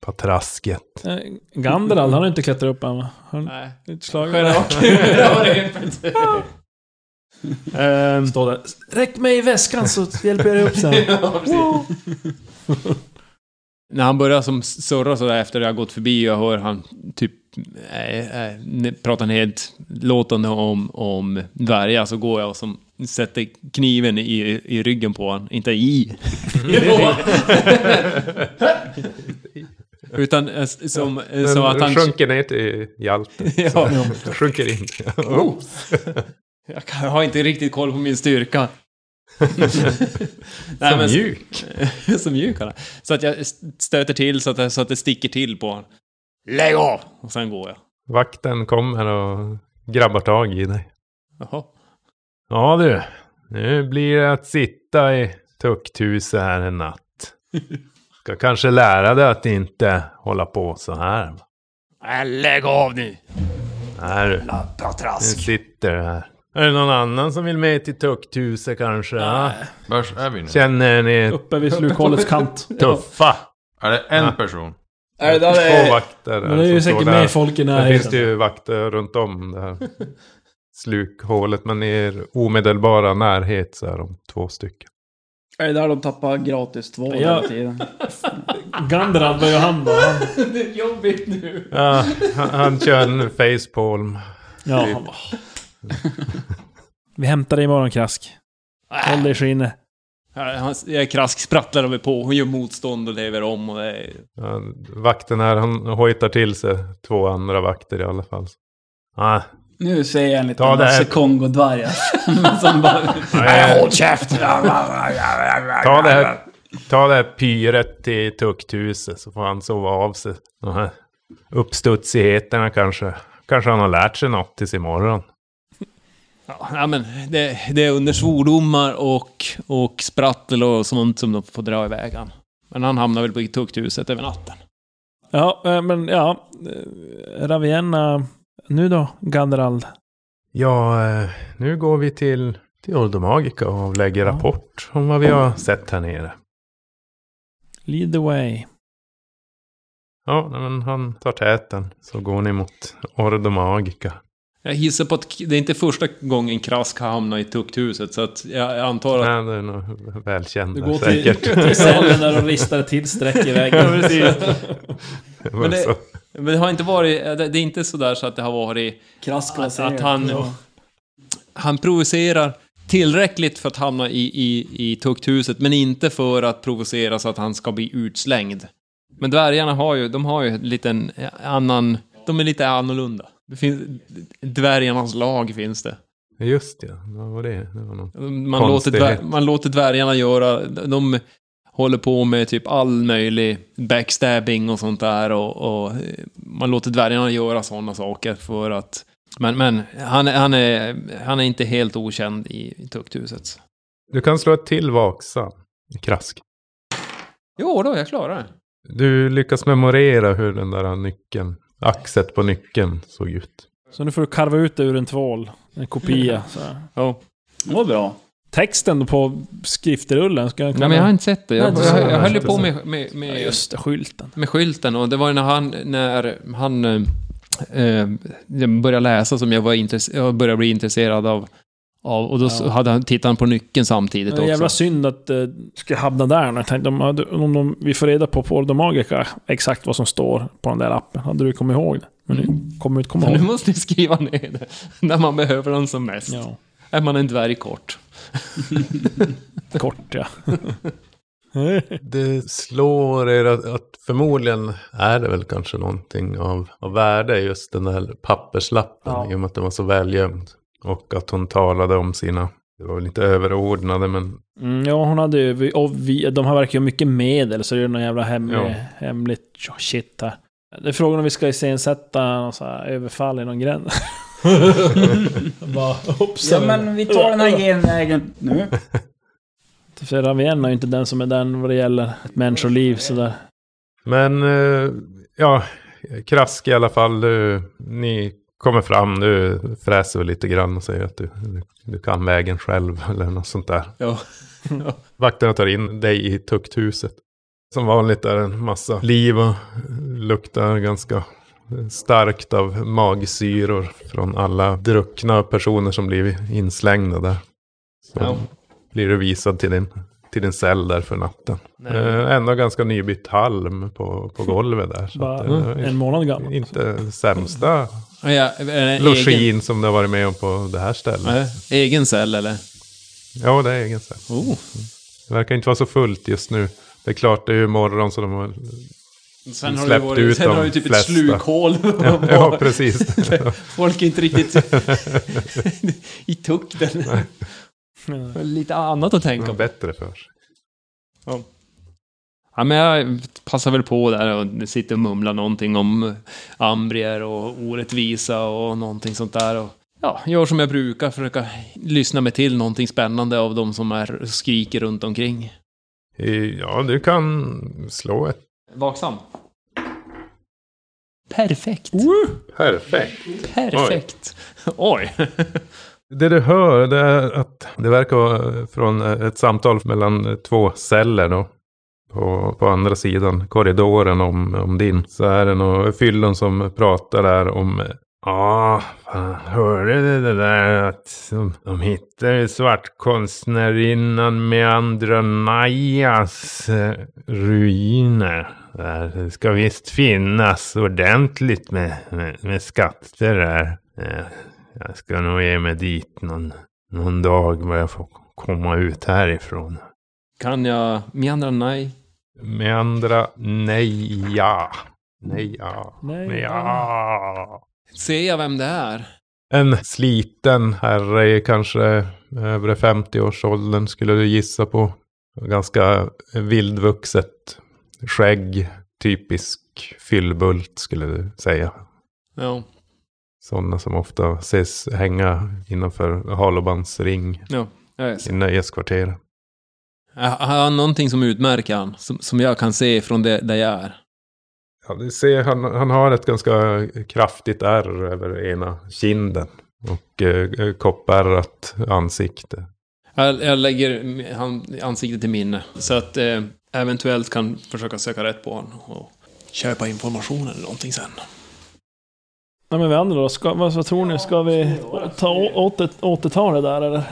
Speaker 5: patrasket.
Speaker 3: Eh, Ganderald, han har inte klättrat upp än va? Har han
Speaker 4: Nej.
Speaker 3: inte slagit?
Speaker 8: Ehm,
Speaker 3: Står där. Räck mig i väskan så hjälper jag dig upp sen.
Speaker 4: När han börjar som surra sådär efter jag har gått förbi och hör han typ äh, äh, prata nedlåtande om, om dvärgar så går jag och som sätter kniven i, i ryggen på honom. Inte i. Utan eh, s- som, eh, som att
Speaker 5: Den
Speaker 4: han...
Speaker 5: sjunker ner till Hjalten.
Speaker 4: Ja,
Speaker 5: Den Sjunker in.
Speaker 4: jag kan- jag har inte riktigt koll på min styrka. Nej,
Speaker 5: Så
Speaker 4: men-
Speaker 5: mjuk.
Speaker 4: så mjuk han är. Så att jag stöter till så att, det- så att det sticker till på honom.
Speaker 8: lägg av!
Speaker 4: Och sen går jag.
Speaker 5: Vakten kommer och grabbar tag i dig.
Speaker 4: Jaha.
Speaker 5: Ja du, nu blir det att sitta i tukthuset här en natt. Ska kanske lära dig att inte hålla på så här. va?
Speaker 8: Äh, lägg av nu!
Speaker 5: Nej du. Nu
Speaker 8: Patrask.
Speaker 5: sitter det här. Är det någon annan som vill med till tukthuset kanske? Ja.
Speaker 6: Vars är vi nu?
Speaker 5: Känner ni er
Speaker 3: Uppe vid slukhålets kant.
Speaker 5: tuffa?
Speaker 6: Är det en
Speaker 5: Ja.
Speaker 6: person?
Speaker 2: Är det där det
Speaker 5: Två
Speaker 2: är...
Speaker 5: vakter
Speaker 7: Men det är ju säkert mer folk i
Speaker 5: Alltså, Sen finns det
Speaker 7: närheten.
Speaker 5: ju vakter runt om det här slukhålet. Men i er omedelbara närhet så är de två stycken.
Speaker 2: Är det där de tappar gratis två
Speaker 7: Ja.
Speaker 2: hela tiden?
Speaker 7: Gandalf var ju han då.
Speaker 5: Ja, han, han kör en facepalm.
Speaker 7: Ja, han bara,
Speaker 3: Vi hämtar dig imorgon, Krask. Håll dig i skinnet.
Speaker 4: Ja, han- Jag krask sprattlar över på, hon gör motstånd och lever om och det är...
Speaker 5: Ja, vakten här, han hojtar till sig två andra vakter i alla fall. Ah,
Speaker 2: Nu ser jag alltså. en liten
Speaker 5: Ta det här.
Speaker 2: Lasse Kongo-dvärg. Men som bara...
Speaker 5: håll käften! ta, det här, ta det här pyret till tukthuset så får han sova av sig. De här uppstudsigheterna kanske. Kanske han har lärt sig något tills imorgon.
Speaker 4: Ja, ja, men det, det är under svordomar och, och sprattel och sånt som de får dra iväg han. Men han hamnar väl på tukthuset över natten.
Speaker 3: Ja, eh, men ja. eh, Ravienna. Nu då, Ganderald?
Speaker 5: Ja, eh, nu går vi till, till Oldomagica och lägger rapport om vad vi har sett här nere.
Speaker 3: Lead the way.
Speaker 5: Ja, nej, men han tar täten. Så går ni mot Ordomagica.
Speaker 4: Jag gissar på att det är inte första gången Krask har hamnat i tukthuset, så att jag jag antar att...
Speaker 5: Nej, det är nog välkänt
Speaker 4: Du går till-
Speaker 5: säkert.
Speaker 7: till salen där de ristar ett till streck i väggen.
Speaker 4: Ja, precis.
Speaker 5: Men
Speaker 4: det-
Speaker 5: så.
Speaker 4: Men det har inte varit... Det det är inte sådär så att det har varit...
Speaker 2: Krask
Speaker 4: Att, att han... Han provocerar tillräckligt för att hamna i, i, i tukthuset, men inte för att provocera så att han ska bli utslängd. Men dvärgarna har ju, de har ju en liten eh, annan... De är lite annorlunda. Det finns, dvärgarnas lag finns det.
Speaker 5: Just det, vad var det? det var någon.
Speaker 4: Man låter, dvär,
Speaker 5: Konstighet.
Speaker 4: man låter dvärgarna göra, de håller på med typ all möjlig backstabbing och sånt där och, och eh, man låter dvärgarna göra sådana saker för att... Men, men han, han, är, han är inte helt okänd i, i tukthuset.
Speaker 5: Du kan slå ett till vaksam. Krask.
Speaker 4: Jo då, jag klarar det.
Speaker 5: Du lyckas memorera hur den där nyckeln, axet på nyckeln såg ut.
Speaker 3: Så nu får du karva ut det ur en tvål. En kopia. Så. här.
Speaker 2: Vad bra.
Speaker 3: Texten på skriftrullen ska jag
Speaker 4: Nej, men jag har inte sett det. Jag,
Speaker 3: Nej,
Speaker 4: jag,
Speaker 3: det
Speaker 4: jag,
Speaker 3: såg
Speaker 4: höll ju
Speaker 5: jag
Speaker 4: på
Speaker 5: inte.
Speaker 4: med, med,
Speaker 3: Ja,
Speaker 4: med,
Speaker 3: just det, skylten.
Speaker 4: med skylten och det var ju när han, när han eh, eh, jag började läsa som jag, var intresse- jag började bli intresserad av. av och då s-
Speaker 3: Ja.
Speaker 4: hade han, tittade han på nyckeln samtidigt
Speaker 3: Det är
Speaker 4: också.
Speaker 3: jävla synd att eh, ska hamna där. Jag tänkte, om, hade- om de, vi får reda på på Ordo Magica exakt vad som står på den där appen. Hade du kommit ihåg det? Men nu kommer du inte komma
Speaker 4: Men
Speaker 3: ihåg.
Speaker 4: Mm. nu
Speaker 3: det.
Speaker 4: måste ni skriva ner det. När man behöver den som mest.
Speaker 3: Ja,
Speaker 4: Är man en dvärg kort.
Speaker 3: kort ja.
Speaker 5: Det slår er att, att förmodligen är det väl kanske någonting av, av värde just den där papperslappen
Speaker 3: Ja.
Speaker 5: i och med att den var så välgömd. Och att hon talade om sina, det var väl inte överordnade men
Speaker 3: Mm, ja, hon hade ju... vi- Och vi, de här verkar ju ha mycket medel, så det är ju någon jävla hemlig,
Speaker 5: Ja.
Speaker 3: hemligt shit här. Det är frågan om vi ska iscensätta någon så här överfall i någon gräns.
Speaker 7: Bara, hoppsan.
Speaker 2: Ja men vi tar den här genvägen nu.
Speaker 3: För Ravienna är ju inte den som är den vad det gäller ett människoliv sådär.
Speaker 5: Men eh, ja, krask i alla fall. Du, ni kommer fram, du fräser väl lite grann och säger att du, du, du kan vägen själv eller något sånt där.
Speaker 4: Ja.
Speaker 5: Vakterna tar in dig i tukthuset. Som vanligt är det en massa liv och luktar ganska starkt av magsyror från alla druckna personer som blivit inslängda där. Så
Speaker 4: Ja.
Speaker 5: blir du visad till din, till din cell där för natten. Eh, Ändå ganska nybytt halm på, på golvet där. Så
Speaker 3: Bara
Speaker 5: att, eh,
Speaker 3: en månad gammal.
Speaker 5: Inte sämsta
Speaker 4: Ja, en egen,
Speaker 5: login som du har varit med om på det här stället.
Speaker 4: Nej, egen cell eller?
Speaker 5: Ja, det är egen cell.
Speaker 4: Oh.
Speaker 5: Det verkar inte vara så fullt just nu. Det är klart, det är ju morgon så de har...
Speaker 4: Sen
Speaker 5: har det ju Släppt varit- ut sen har de det ju typ ett flesta. slukhål. Ja, precis.
Speaker 4: Folk är inte riktigt i tukten. Lite annat att
Speaker 5: Det
Speaker 4: tänka
Speaker 5: var
Speaker 4: på.
Speaker 5: bättre för sig.
Speaker 4: Ja, men jag passar väl på där och sitter och mumlar någonting om ambrier och orättvisa och någonting sånt där. Och, ja, gör som jag brukar, försöka lyssna mig till någonting spännande av de som är, skriker runt omkring.
Speaker 5: Eh, Ja, du kan slå ett.
Speaker 4: Vaksam. Perfekt.
Speaker 5: Perfekt.
Speaker 4: Perfekt. Oj.
Speaker 5: Det du hör eh, det är att det verkar vara från ett samtal mellan två eh, celler då. på, på andra sidan korridoren om, om din. Så är det nog fyllon som pratar där om eh, Ja, fan, hörde du det där att de, de hittade svartkonstnärinnan Meandra Najas eh, ruiner. Där. Det ska visst finnas ordentligt med, med, med skatter där. Eh, Jag ska nog ge mig dit någon, någon dag när jag får komma ut härifrån.
Speaker 4: Kan jag Miandra Nej?
Speaker 5: Meandra Naja. Naja.
Speaker 3: Nej.
Speaker 5: Naja.
Speaker 4: Ser jag vem det är?
Speaker 5: En sliten herre i kanske övre 50-årsåldern skulle du gissa på. Ganska vildvuxet skägg, typisk fyllbult skulle du säga.
Speaker 4: Ja,
Speaker 5: Sådana som ofta ses hänga innanför halobandsring
Speaker 4: jag ser.
Speaker 5: i nöjeskvarteren.
Speaker 4: Har han någonting som utmärker han? Som, som jag kan se från det, där jag är?
Speaker 5: Ja, du ser, han, han har ett ganska kraftigt ärr över ena kinden. Och eh, koppärrat ansikte.
Speaker 4: Jag, jag lägger han, ansiktet till minne. Så att eh, eventuellt kan försöka söka rätt på honom och köpa information eller någonting sen.
Speaker 3: Nej, men vi andra då? Ska, vad, vad tror ni? Ska vi ta, å- åter, återta det där eller?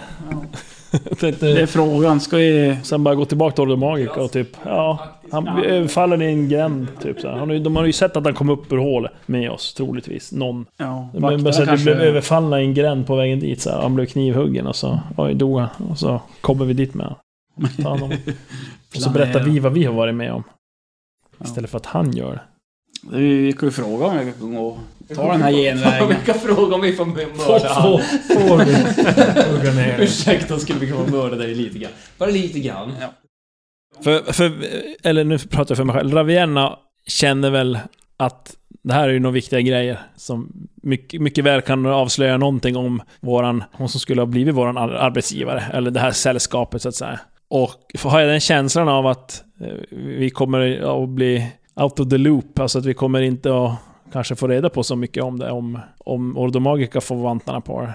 Speaker 3: Jag
Speaker 2: Det är
Speaker 3: tänkte,
Speaker 2: frågan. Ska vi...
Speaker 3: sen bara gå tillbaka till Order Magica och typ... Ja, han vi överfaller i en gränd. Typ, så här. han, har ju- de har ju sett att han kom upp ur hålet med oss, troligtvis. Någon.
Speaker 2: Ja,
Speaker 3: Men bara så att vi blev överfallna i en gränd på vägen dit. Så här. Han blev knivhuggen och så oj, dog han. Och så kommer vi dit med honom. Ta hand om honom. Och så berättar vi vad vi har varit med om. Istället för att han gör det.
Speaker 2: Vi vi kan ju fråga om vi kan gå och ta den här genvägen.
Speaker 4: kan fråga om vi får mörda
Speaker 7: Få- få- hugga ner.
Speaker 4: Ursäkta, skulle vi kunna mörda dig lite grann? Bara lite grann.
Speaker 3: För, för, eller nu pratar jag för mig själv. Ravienna känner väl att det här är ju några viktiga grejer som mycket, mycket väl kan avslöja någonting om våran, hon som skulle ha blivit våran ar- arbetsgivare, eller det här sällskapet så att säga. Och har jag den känslan av att eh, vi kommer att bli out of the loop, alltså att vi kommer inte att kanske få reda på så mycket om det, om, om Ordomagica får vantarna på det.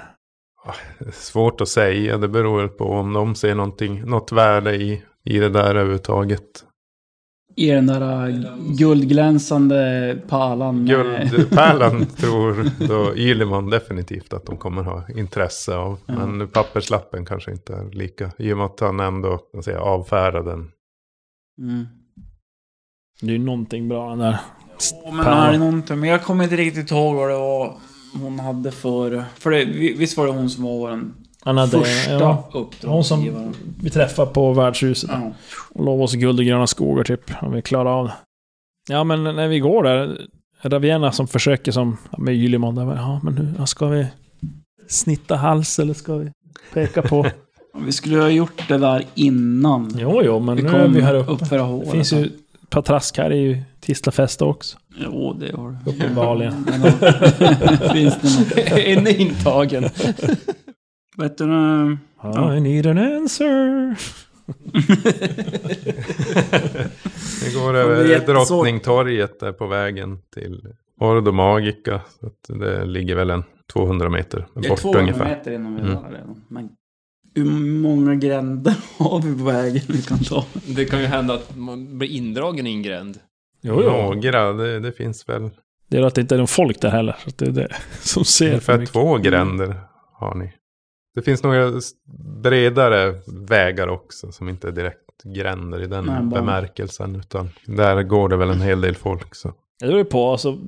Speaker 5: Svårt att säga, det beror väl på om de ser någonting, något värde i, i det där överhuvudtaget.
Speaker 2: I den där äh, guldglänsande pärlan. med-
Speaker 5: Guldpärlan tror då Yliman definitivt att de kommer ha intresse av. Men papperslappen kanske inte är lika. I och med att han ändå kan man säga, avfärdar den.
Speaker 2: Mm.
Speaker 3: Det är ju någonting bra den där.
Speaker 2: Ja, men är det någonting? Men jag kommer inte riktigt ihåg vad det var hon hade för... För det, vi- visst var det hon som var vår
Speaker 3: Han hade,
Speaker 2: första
Speaker 3: ja, hon
Speaker 2: uppdragsgivare?
Speaker 3: som vi träffade på värdshuset.
Speaker 2: Ja.
Speaker 3: Och lova oss guld och gröna skogar typ, om vi klarar av det. Ja, men när vi går där, Ravienna som försöker som, ja, med Ylimon där, ja men hur, ja, ska vi snitta hals eller ska vi peka på?
Speaker 2: Vi skulle ju ha gjort det där innan.
Speaker 3: jo, jo, men
Speaker 2: vi
Speaker 3: nu är
Speaker 2: kom
Speaker 3: vi här uppe.
Speaker 2: upp för
Speaker 3: det
Speaker 2: hålet.
Speaker 3: finns ju ett par trask här i Tislafest också.
Speaker 2: Jo, det har det.
Speaker 3: Uppenbarligen.
Speaker 2: Men då- finns det något?
Speaker 4: En intagen.
Speaker 2: Vet du nu?
Speaker 3: I need an answer.
Speaker 5: Vi går
Speaker 2: det är
Speaker 5: över
Speaker 2: jättesvårt.
Speaker 5: Drottningtorget där på vägen till Ordo Magica. Så att det ligger väl en 200 meter
Speaker 2: Det är
Speaker 5: bort
Speaker 2: 200
Speaker 5: ungefär.
Speaker 2: meter innan vi är
Speaker 5: Mm.
Speaker 2: där redan. Men hur många gränder har vi på vägen vi kan ta?
Speaker 4: Det kan ju hända att man blir indragen i en gränd.
Speaker 3: Jo, jo.
Speaker 5: Några, det, det finns väl.
Speaker 3: Det är att det inte är någon folk där heller, så att det är Mm. det som ser för
Speaker 5: Ungefär
Speaker 3: mycket.
Speaker 5: två gränder har ni. Det finns några s- bredare vägar också som inte är direkt gränder i den
Speaker 2: Nej, bara-
Speaker 5: bemärkelsen. Utan där går det väl en hel del folk. Så.
Speaker 3: Det beror ju på, alltså, eh,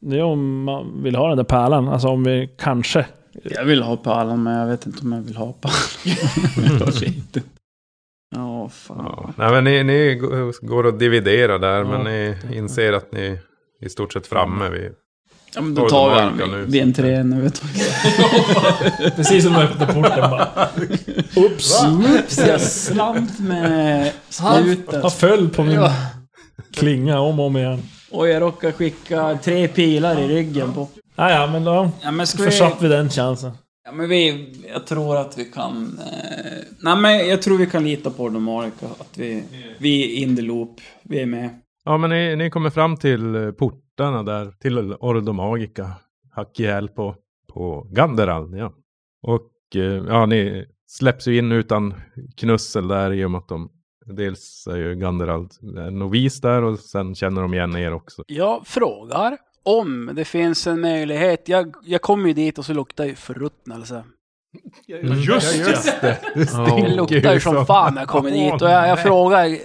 Speaker 3: det är om man vill ha den där pärlan, alltså om vi kanske
Speaker 2: Jag vill ha pärlan men jag vet inte om jag vill ha pärlan. Ja,
Speaker 5: Ja.
Speaker 2: fan.
Speaker 5: Nej, men ni, ni g- går och dividerar där
Speaker 3: Ja,
Speaker 5: men ni inser att ni är i stort sett framme vid...
Speaker 2: Ja, men då tar vi
Speaker 5: Då är det
Speaker 2: den vid- vid en tre nu vet du.
Speaker 7: Precis som de öppnade porten bara.
Speaker 3: Oops!
Speaker 2: Oops, jag slant med
Speaker 3: Han
Speaker 2: spjuten.
Speaker 3: föll på min klinga om och om igen.
Speaker 2: Och jag råkade skicka tre pilar i ryggen på.
Speaker 3: Ah, ja, men då
Speaker 2: Ja, men ska vi...
Speaker 3: försatt vi den chansen.
Speaker 2: Ja, men vi... Jag tror att vi kan... Eh... Nej, men jag tror vi kan lita på Ordomarika. Att vi... Vi är in the loop. Vi är med.
Speaker 5: Ja, men ni, ni kommer fram till eh, portarna där, till Ordo Magica. Hack ihjäl på, på Ganderald, ja. Och eh, ja, ni släpps ju in utan knussel där i och med att de Dels är ju Ganderald novis där och sen känner de igen er också.
Speaker 2: Jag frågar om det finns en möjlighet. Jag, jag kommer ju dit och så luktar ju förruttnelse.
Speaker 5: Just, ja, just det! Det
Speaker 2: Mm. Det
Speaker 5: stinker
Speaker 2: luktar ju som fan när jag kommer dit. Och jag, jag frågar... Aj,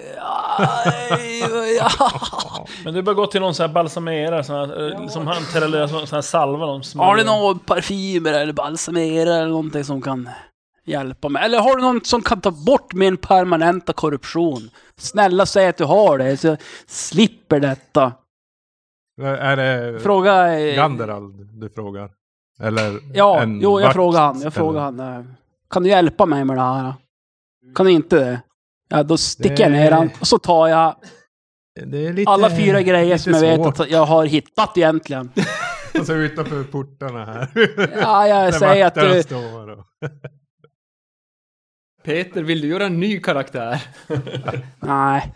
Speaker 3: Men du bör gå till någon sån här balsamerare sån här, eh, som hanterar eller sån sån här salva. De smörjer.
Speaker 2: Har du några parfymer eller balsamerare eller någonting som kan hjälpa mig? Eller har du någon som kan ta bort min permanenta korruption? Snälla säg att du har det så jag slipper detta.
Speaker 5: Är det
Speaker 2: Fråga... eh,
Speaker 5: Ganderald du frågar? Eller
Speaker 2: Ja,
Speaker 5: en
Speaker 2: jo, jag
Speaker 5: vakt,
Speaker 2: frågar han. Jag frågar
Speaker 5: eller?
Speaker 2: han. eh, Kan du hjälpa mig med det här? Kan du inte det? Ja, då sticker jag
Speaker 5: Det-
Speaker 2: ner han och så tar jag
Speaker 5: Det är lite,
Speaker 2: alla fyra grejer
Speaker 5: lite
Speaker 2: som jag vet
Speaker 5: svårt.
Speaker 2: att jag har hittat egentligen.
Speaker 5: Alltså utanför portarna här.
Speaker 2: Ja, jag
Speaker 5: Där
Speaker 2: säger att
Speaker 5: vakterna
Speaker 2: du...
Speaker 5: står och-
Speaker 4: Peter, vill du göra en ny karaktär?
Speaker 2: Nej,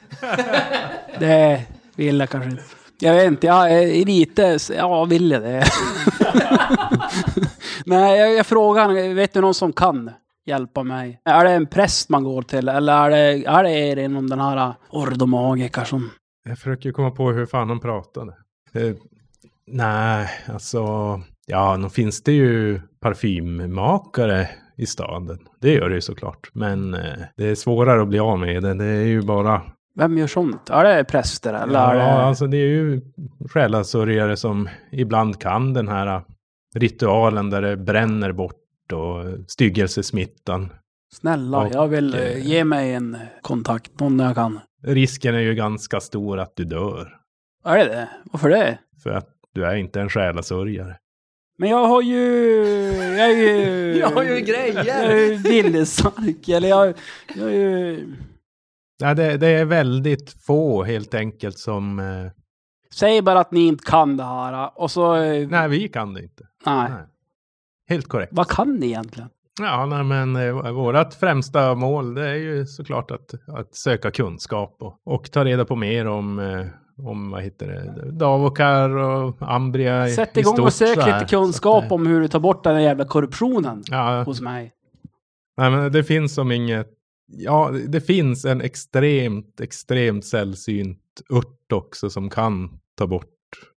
Speaker 2: det vill jag kanske inte. Jag vet inte, jag är lite... Ja, vill jag det? Nej, jag, jag frågar han, vet du någon som kan hjälpa mig? Är det en präst man går till eller är det, är det er inom den här eh, ordomagiker som...
Speaker 5: Jag försöker komma på hur fan han pratade. Eh, nej, alltså... Ja, nu finns det ju parfymmakare i staden. Det gör det ju såklart. Men eh, det är svårare att bli av med det. Det är ju bara...
Speaker 2: Vem gör sånt? Är det präster eller?
Speaker 5: Ja,
Speaker 2: är det...
Speaker 5: alltså det är ju själasörjare som ibland kan den här eh, ritualen där det bränner bort och styggelsesmittan.
Speaker 2: Snälla,
Speaker 5: Och,
Speaker 2: jag vill eh,
Speaker 5: eh,
Speaker 2: ge mig en kontakt, någon jag kan.
Speaker 5: Risken är ju ganska stor att du dör.
Speaker 2: Är det det? Varför det?
Speaker 5: För att du är inte en själasörjare.
Speaker 2: Men jag har ju... Jag är ju... jag har ju grejer! Jag är ju viljestark, eller jag, jag är ju...
Speaker 5: Nej, det, det är väldigt få helt enkelt som... Eh,
Speaker 2: Säg bara att ni inte kan det här och så... eh,
Speaker 5: nej, vi kan det inte.
Speaker 2: nej.
Speaker 5: nej. Helt korrekt.
Speaker 2: Vad kan ni egentligen?
Speaker 5: Ja, nej, men eh, vårt främsta mål det är ju såklart att, att söka kunskap och, och ta reda på mer om, eh, om vad heter det, Davokar och Ambria i-
Speaker 2: Sätt
Speaker 5: i
Speaker 2: igång och
Speaker 5: stort så
Speaker 2: sök
Speaker 5: här.
Speaker 2: lite
Speaker 5: Så
Speaker 2: kunskap
Speaker 5: att, eh,
Speaker 2: om hur du tar bort den där jävla korruptionen
Speaker 5: Ja,
Speaker 2: hos mig.
Speaker 5: nej, men det finns som inget... Ja, det finns en extremt, extremt sällsynt ört också som kan ta bort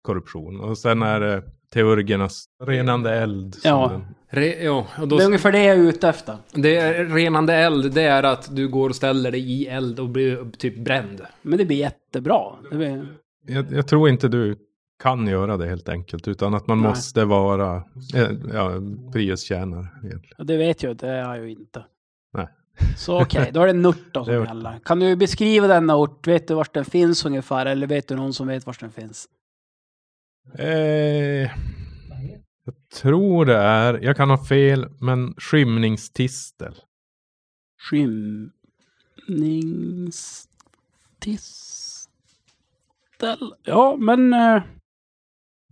Speaker 5: korruption. Och sen är det teurgernas renande eld. som
Speaker 2: Ja.
Speaker 5: den-
Speaker 4: Re, ja, och då,
Speaker 2: Det är ungefär det jag är ute efter.
Speaker 4: det är renande eld, det är att du går och ställer dig i eld och blir typ bränd.
Speaker 2: Men det blir jättebra. Det blir...
Speaker 5: Jag, jag tror inte du kan göra det helt enkelt, utan att man
Speaker 2: Nej.
Speaker 5: måste vara eh, ja, priustjänare. egentligen.
Speaker 2: Ja, Det vet jag, det är jag ju inte.
Speaker 5: Nej.
Speaker 2: Så okej, då är det Nurton som
Speaker 5: Det är ort.
Speaker 2: gäller. Kan du beskriva denna ort? Vet du vart den finns ungefär? Eller vet du någon som vet vart den finns?
Speaker 5: Eh, jag tror det är, jag kan ha fel, men skymningstistel.
Speaker 2: Skymningstistel? Ja, men... eh,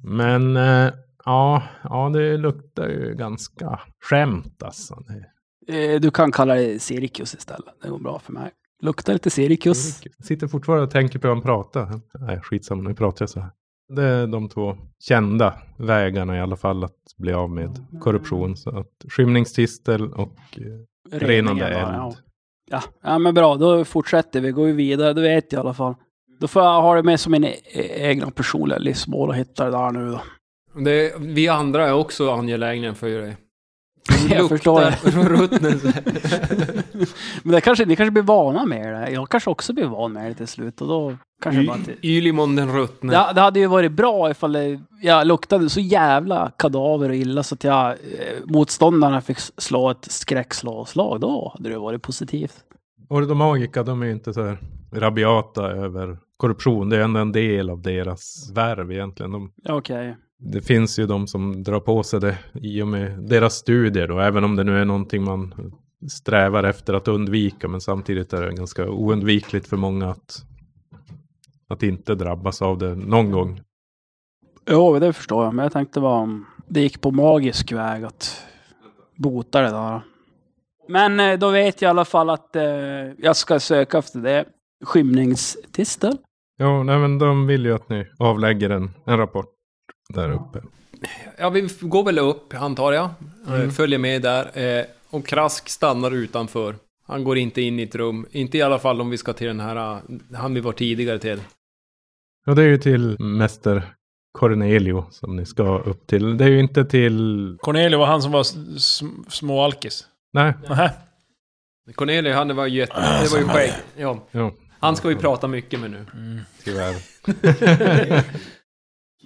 Speaker 5: Men eh, ja, ja, det luktar ju ganska skämt alltså. Det-
Speaker 2: Eh, du kan kalla det cirkus istället. Det går bra för mig. Luktar lite cirkus.
Speaker 5: Jag sitter fortfarande och tänker på hur han pratar. Nej, skitsamma, nu pratar jag så här. Det är de två kända vägarna i alla fall att bli av med korruption. Så att skymningstistel och eh, Renande
Speaker 2: Reningen bara,
Speaker 5: eld.
Speaker 2: Ja. Ja. ja, men bra. Då fortsätter vi. Går vi vidare. Det vet jag i alla fall. Då får jag ha det med som min e- egna personliga livsmål och hitta det där nu då.
Speaker 4: Det, vi andra är också angelägna för dig.
Speaker 2: Jag förstår det.
Speaker 4: ruttnelse.
Speaker 2: Men det kanske, ni kanske blir vana med det. Jag kanske också blir van med det till slut och då kanske jag bara... inte-
Speaker 4: Ylimon den ruttne.
Speaker 2: Det, det hade ju varit bra ifall det, jag luktade så jävla kadaver och illa så att jag, eh, motståndarna fick s- slå ett skräckslag. Då hade det varit positivt.
Speaker 5: Ordomagica, de är ju inte så här rabiata över korruption. Det är ändå en del av deras värv egentligen. De,
Speaker 2: Okej.
Speaker 5: det finns ju de som drar på sig det i och med deras studier då, även om det nu är någonting man strävar efter att undvika, men samtidigt är det ganska oundvikligt för många att, att inte drabbas av det någon gång.
Speaker 2: Jo, det förstår jag. Men jag tänkte bara om det gick på magisk väg att bota det där. Men eh, då vet jag i alla fall att eh, jag ska söka efter det. Skymningstistel.
Speaker 5: Ja, nej, men de vill ju att ni avlägger en, en rapport där uppe.
Speaker 4: Ja, vi Mm. går väl upp, antar jag. Eh, Följer med där. eh, Och Krask stannar utanför. Han går inte in i ett rum. Inte i alla fall om vi ska till den här, eh, han vi var tidigare till.
Speaker 5: Ja, det är ju till mäster Cornelio som ni ska upp till. Det är ju inte till...
Speaker 7: Cornelio var han som var s- sm- småalkis.
Speaker 5: Nej.
Speaker 7: Nähä.
Speaker 4: Cornelius, han var ju jätte... Det var ju skägg. Ja.
Speaker 5: Jo,
Speaker 4: Han ska vi prata mycket med nu.
Speaker 5: tyvärr.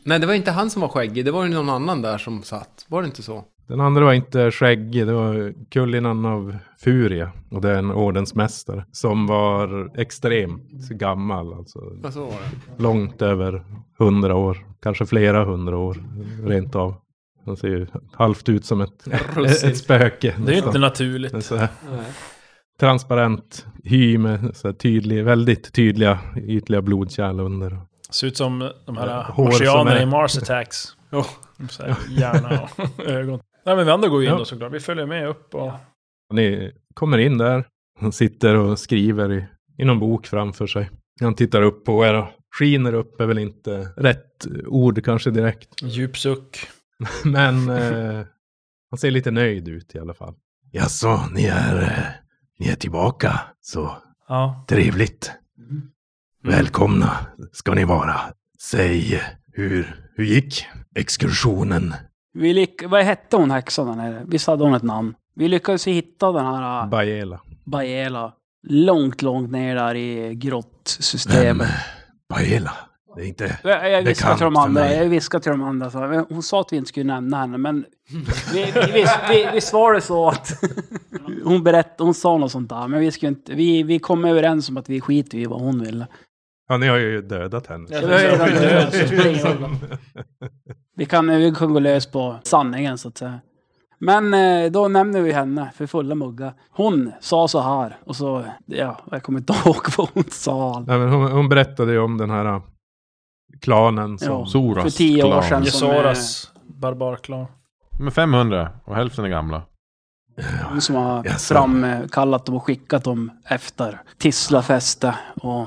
Speaker 4: Nej, det var inte han som var skäggig. Det var ju någon annan där som satt. Var det inte så?
Speaker 5: Den andra var inte skäggig, det var Kullinan av Furia. Och det är en ordensmästare som var extremt gammal. Alltså
Speaker 4: Ja, så var det.
Speaker 5: långt över hundra år, kanske flera hundra år rent av. Han ser ju halvt ut som ett,
Speaker 4: Russin.
Speaker 5: ett
Speaker 7: Det
Speaker 5: spöke.
Speaker 7: är ju
Speaker 5: nästan.
Speaker 7: inte naturligt.
Speaker 5: En så här transparent hy med så här tydlig, väldigt tydliga ytliga blodkärl under.
Speaker 7: Ser ut som de här
Speaker 5: Eh, Hår som
Speaker 7: marsianerna
Speaker 5: är-
Speaker 7: i Mars Attacks.
Speaker 4: Ja.
Speaker 7: Så här, hjärna och ögon. Nej men vi andra går ju in
Speaker 5: Ja.
Speaker 7: då såklart. Vi följer med upp och...
Speaker 5: Och Ni kommer in där, han sitter och skriver i, i någon bok framför sig. Han tittar upp på er och skiner upp är väl inte rätt ord kanske direkt.
Speaker 7: Djup suck.
Speaker 5: Men eh, han ser lite nöjd ut i alla fall. Jaså, ni är, eh, ni är tillbaka. Så
Speaker 7: Ja.
Speaker 5: trevligt. Mm. Välkomna ska ni vara. Säg, hur, hur gick exkursionen?
Speaker 2: Vi lyck- Vad hette hon häxan där nere? Visst hade hon ett namn? Vi lyckades ju hitta den här uh,
Speaker 5: Bajela.
Speaker 2: Bajela långt, långt ner där i grottsystemet.
Speaker 5: Bajela? Det är inte...
Speaker 2: Jag, jag viskade
Speaker 5: Bekant
Speaker 2: till de
Speaker 5: för
Speaker 2: andra.
Speaker 5: mig.
Speaker 2: Jag viskade till de andra. Så här, hon sa att vi inte skulle nämna henne, men vi, vi, vi, vi, visst var det så att hon, berätt, hon sa något sånt där. Men vi, skulle inte, vi, vi kom överens om att vi skiter i vad hon ville.
Speaker 5: Ja, ni har ju dödat henne.
Speaker 2: Det var ju redan död, så det spelar ingen roll. Vi kan, vi kan gå lös på sanningen så att säga. Men eh, då nämner vi henne för fulla muggar. Hon sa så här och så, ja, jag kommer inte ihåg vad hon sa.
Speaker 5: Nej, men hon, hon berättade ju om den här eh, klanen som...
Speaker 2: Ja,
Speaker 6: Soras
Speaker 2: för tio år
Speaker 6: klan.
Speaker 2: sedan. som, eh,
Speaker 7: Gesoras barbarklan.
Speaker 6: Men 500 och hälften är gamla.
Speaker 2: Hon som har
Speaker 5: Jaså.
Speaker 2: framkallat dem och skickat dem efter Tislafäste och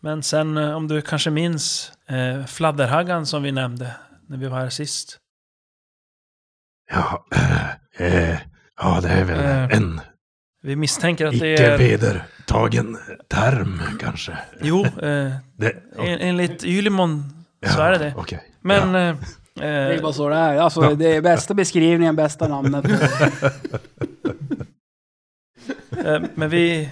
Speaker 7: Men sen eh, om du kanske minns eh, fladderhaggan som vi nämnde när vi var här sist.
Speaker 5: Ja, eh, eh, ja, det är väl
Speaker 7: Eh,
Speaker 5: en
Speaker 7: Vi misstänker att det
Speaker 5: icke
Speaker 7: är...
Speaker 5: vedertagen term kanske.
Speaker 7: Jo, eh,
Speaker 5: Det,
Speaker 7: en, enligt Ylimon så
Speaker 5: ja,
Speaker 7: är det det.
Speaker 5: Okej.
Speaker 7: Men... eh,
Speaker 2: det
Speaker 7: eh,
Speaker 2: är bara så det är. Alltså det är bästa beskrivningen, bästa namnet.
Speaker 7: Eh, Men vi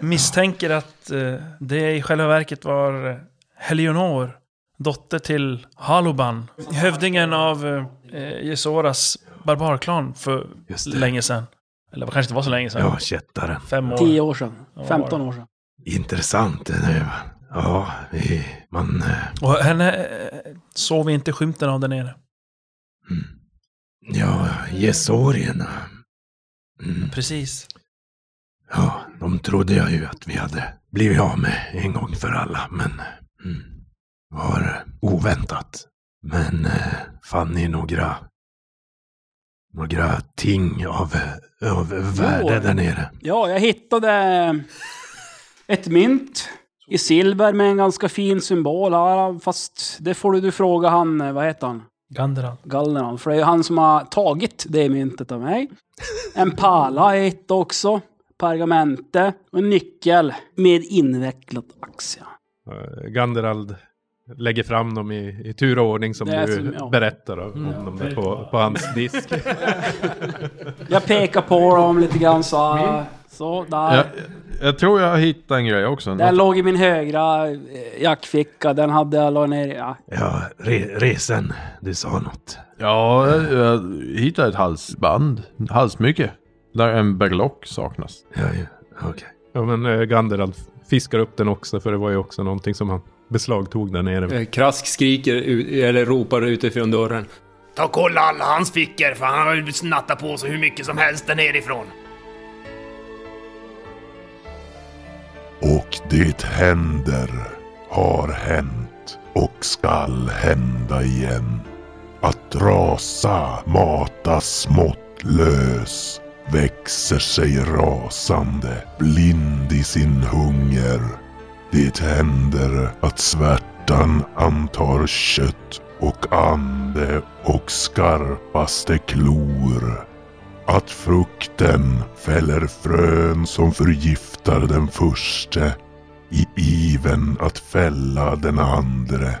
Speaker 7: misstänker att eh, det i själva verket var eh, Helionor, dotter till Haluban, hövdingen av eh, Gesoras barbarklan för
Speaker 5: Just det.
Speaker 7: länge sedan. Eller det kanske inte var så länge sedan.
Speaker 5: Ja, kättaren.
Speaker 7: Fem år.
Speaker 2: Tio år sedan.
Speaker 7: Ja, vad var det?
Speaker 2: 15 år sedan.
Speaker 5: Intressant. det där, va? Ja, vi, man... eh,
Speaker 7: Och henne eh, såg vi inte skymten av där nere.
Speaker 5: mm. Ja, gesorierna. Mm,
Speaker 7: Precis.
Speaker 5: ja, de trodde jag ju att vi hade blivit av med en gång för alla, men... Mm, var eh, oväntat. Men eh, fann ni några... Några ting av, av värde där nere?
Speaker 2: Ja, jag hittade ett mynt i silver med en ganska fin symbol här. Fast det får du, du fråga han, eh, vad heter han?
Speaker 7: Ganderan.
Speaker 2: Galneran. För det är ju han som har tagit det myntet av mig. En pärla har jag hittat också. Pergamente och en nyckel med invecklat axia.
Speaker 5: Eh, Ganderald lägger fram dem i, i tur och ordning som
Speaker 2: Det är
Speaker 5: du
Speaker 2: som- ja. Mm.
Speaker 5: berättar om om dem där på, på hans disk.
Speaker 2: Jag pekar på dem lite grann så här. Så, där.
Speaker 6: Jag, jag tror jag hittade en grej också.
Speaker 2: Den
Speaker 6: Något-
Speaker 2: låg i min högra eh, jackficka. Den hade jag la ner i- ja.
Speaker 5: ja, re, resen, du sa något.
Speaker 6: Ja, jag, jag hittade ett halsband. En Halsmycke. Där en berlock saknas.
Speaker 5: Ja, ja. okej. Ja, men eh, Ganderald fiskar upp den också för det var ju också någonting som han beslagtog där nere.
Speaker 4: Eh, Krask skriker, ut, eller ropar utifrån dörren.
Speaker 8: Ta och kolla alla hans fickor, för han har ju snattat på sig hur mycket som helst där nerifrån.
Speaker 1: Och det händer, har hänt och skall hända igen. Att rasa matas måttlös, växer sig rasande, blind i sin hunger. Det händer att svärtan antar kött och ande och skarpaste klor. att frukten fäller frön som förgiftar den förste i iven att fälla den andre.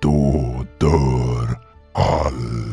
Speaker 1: Då dör all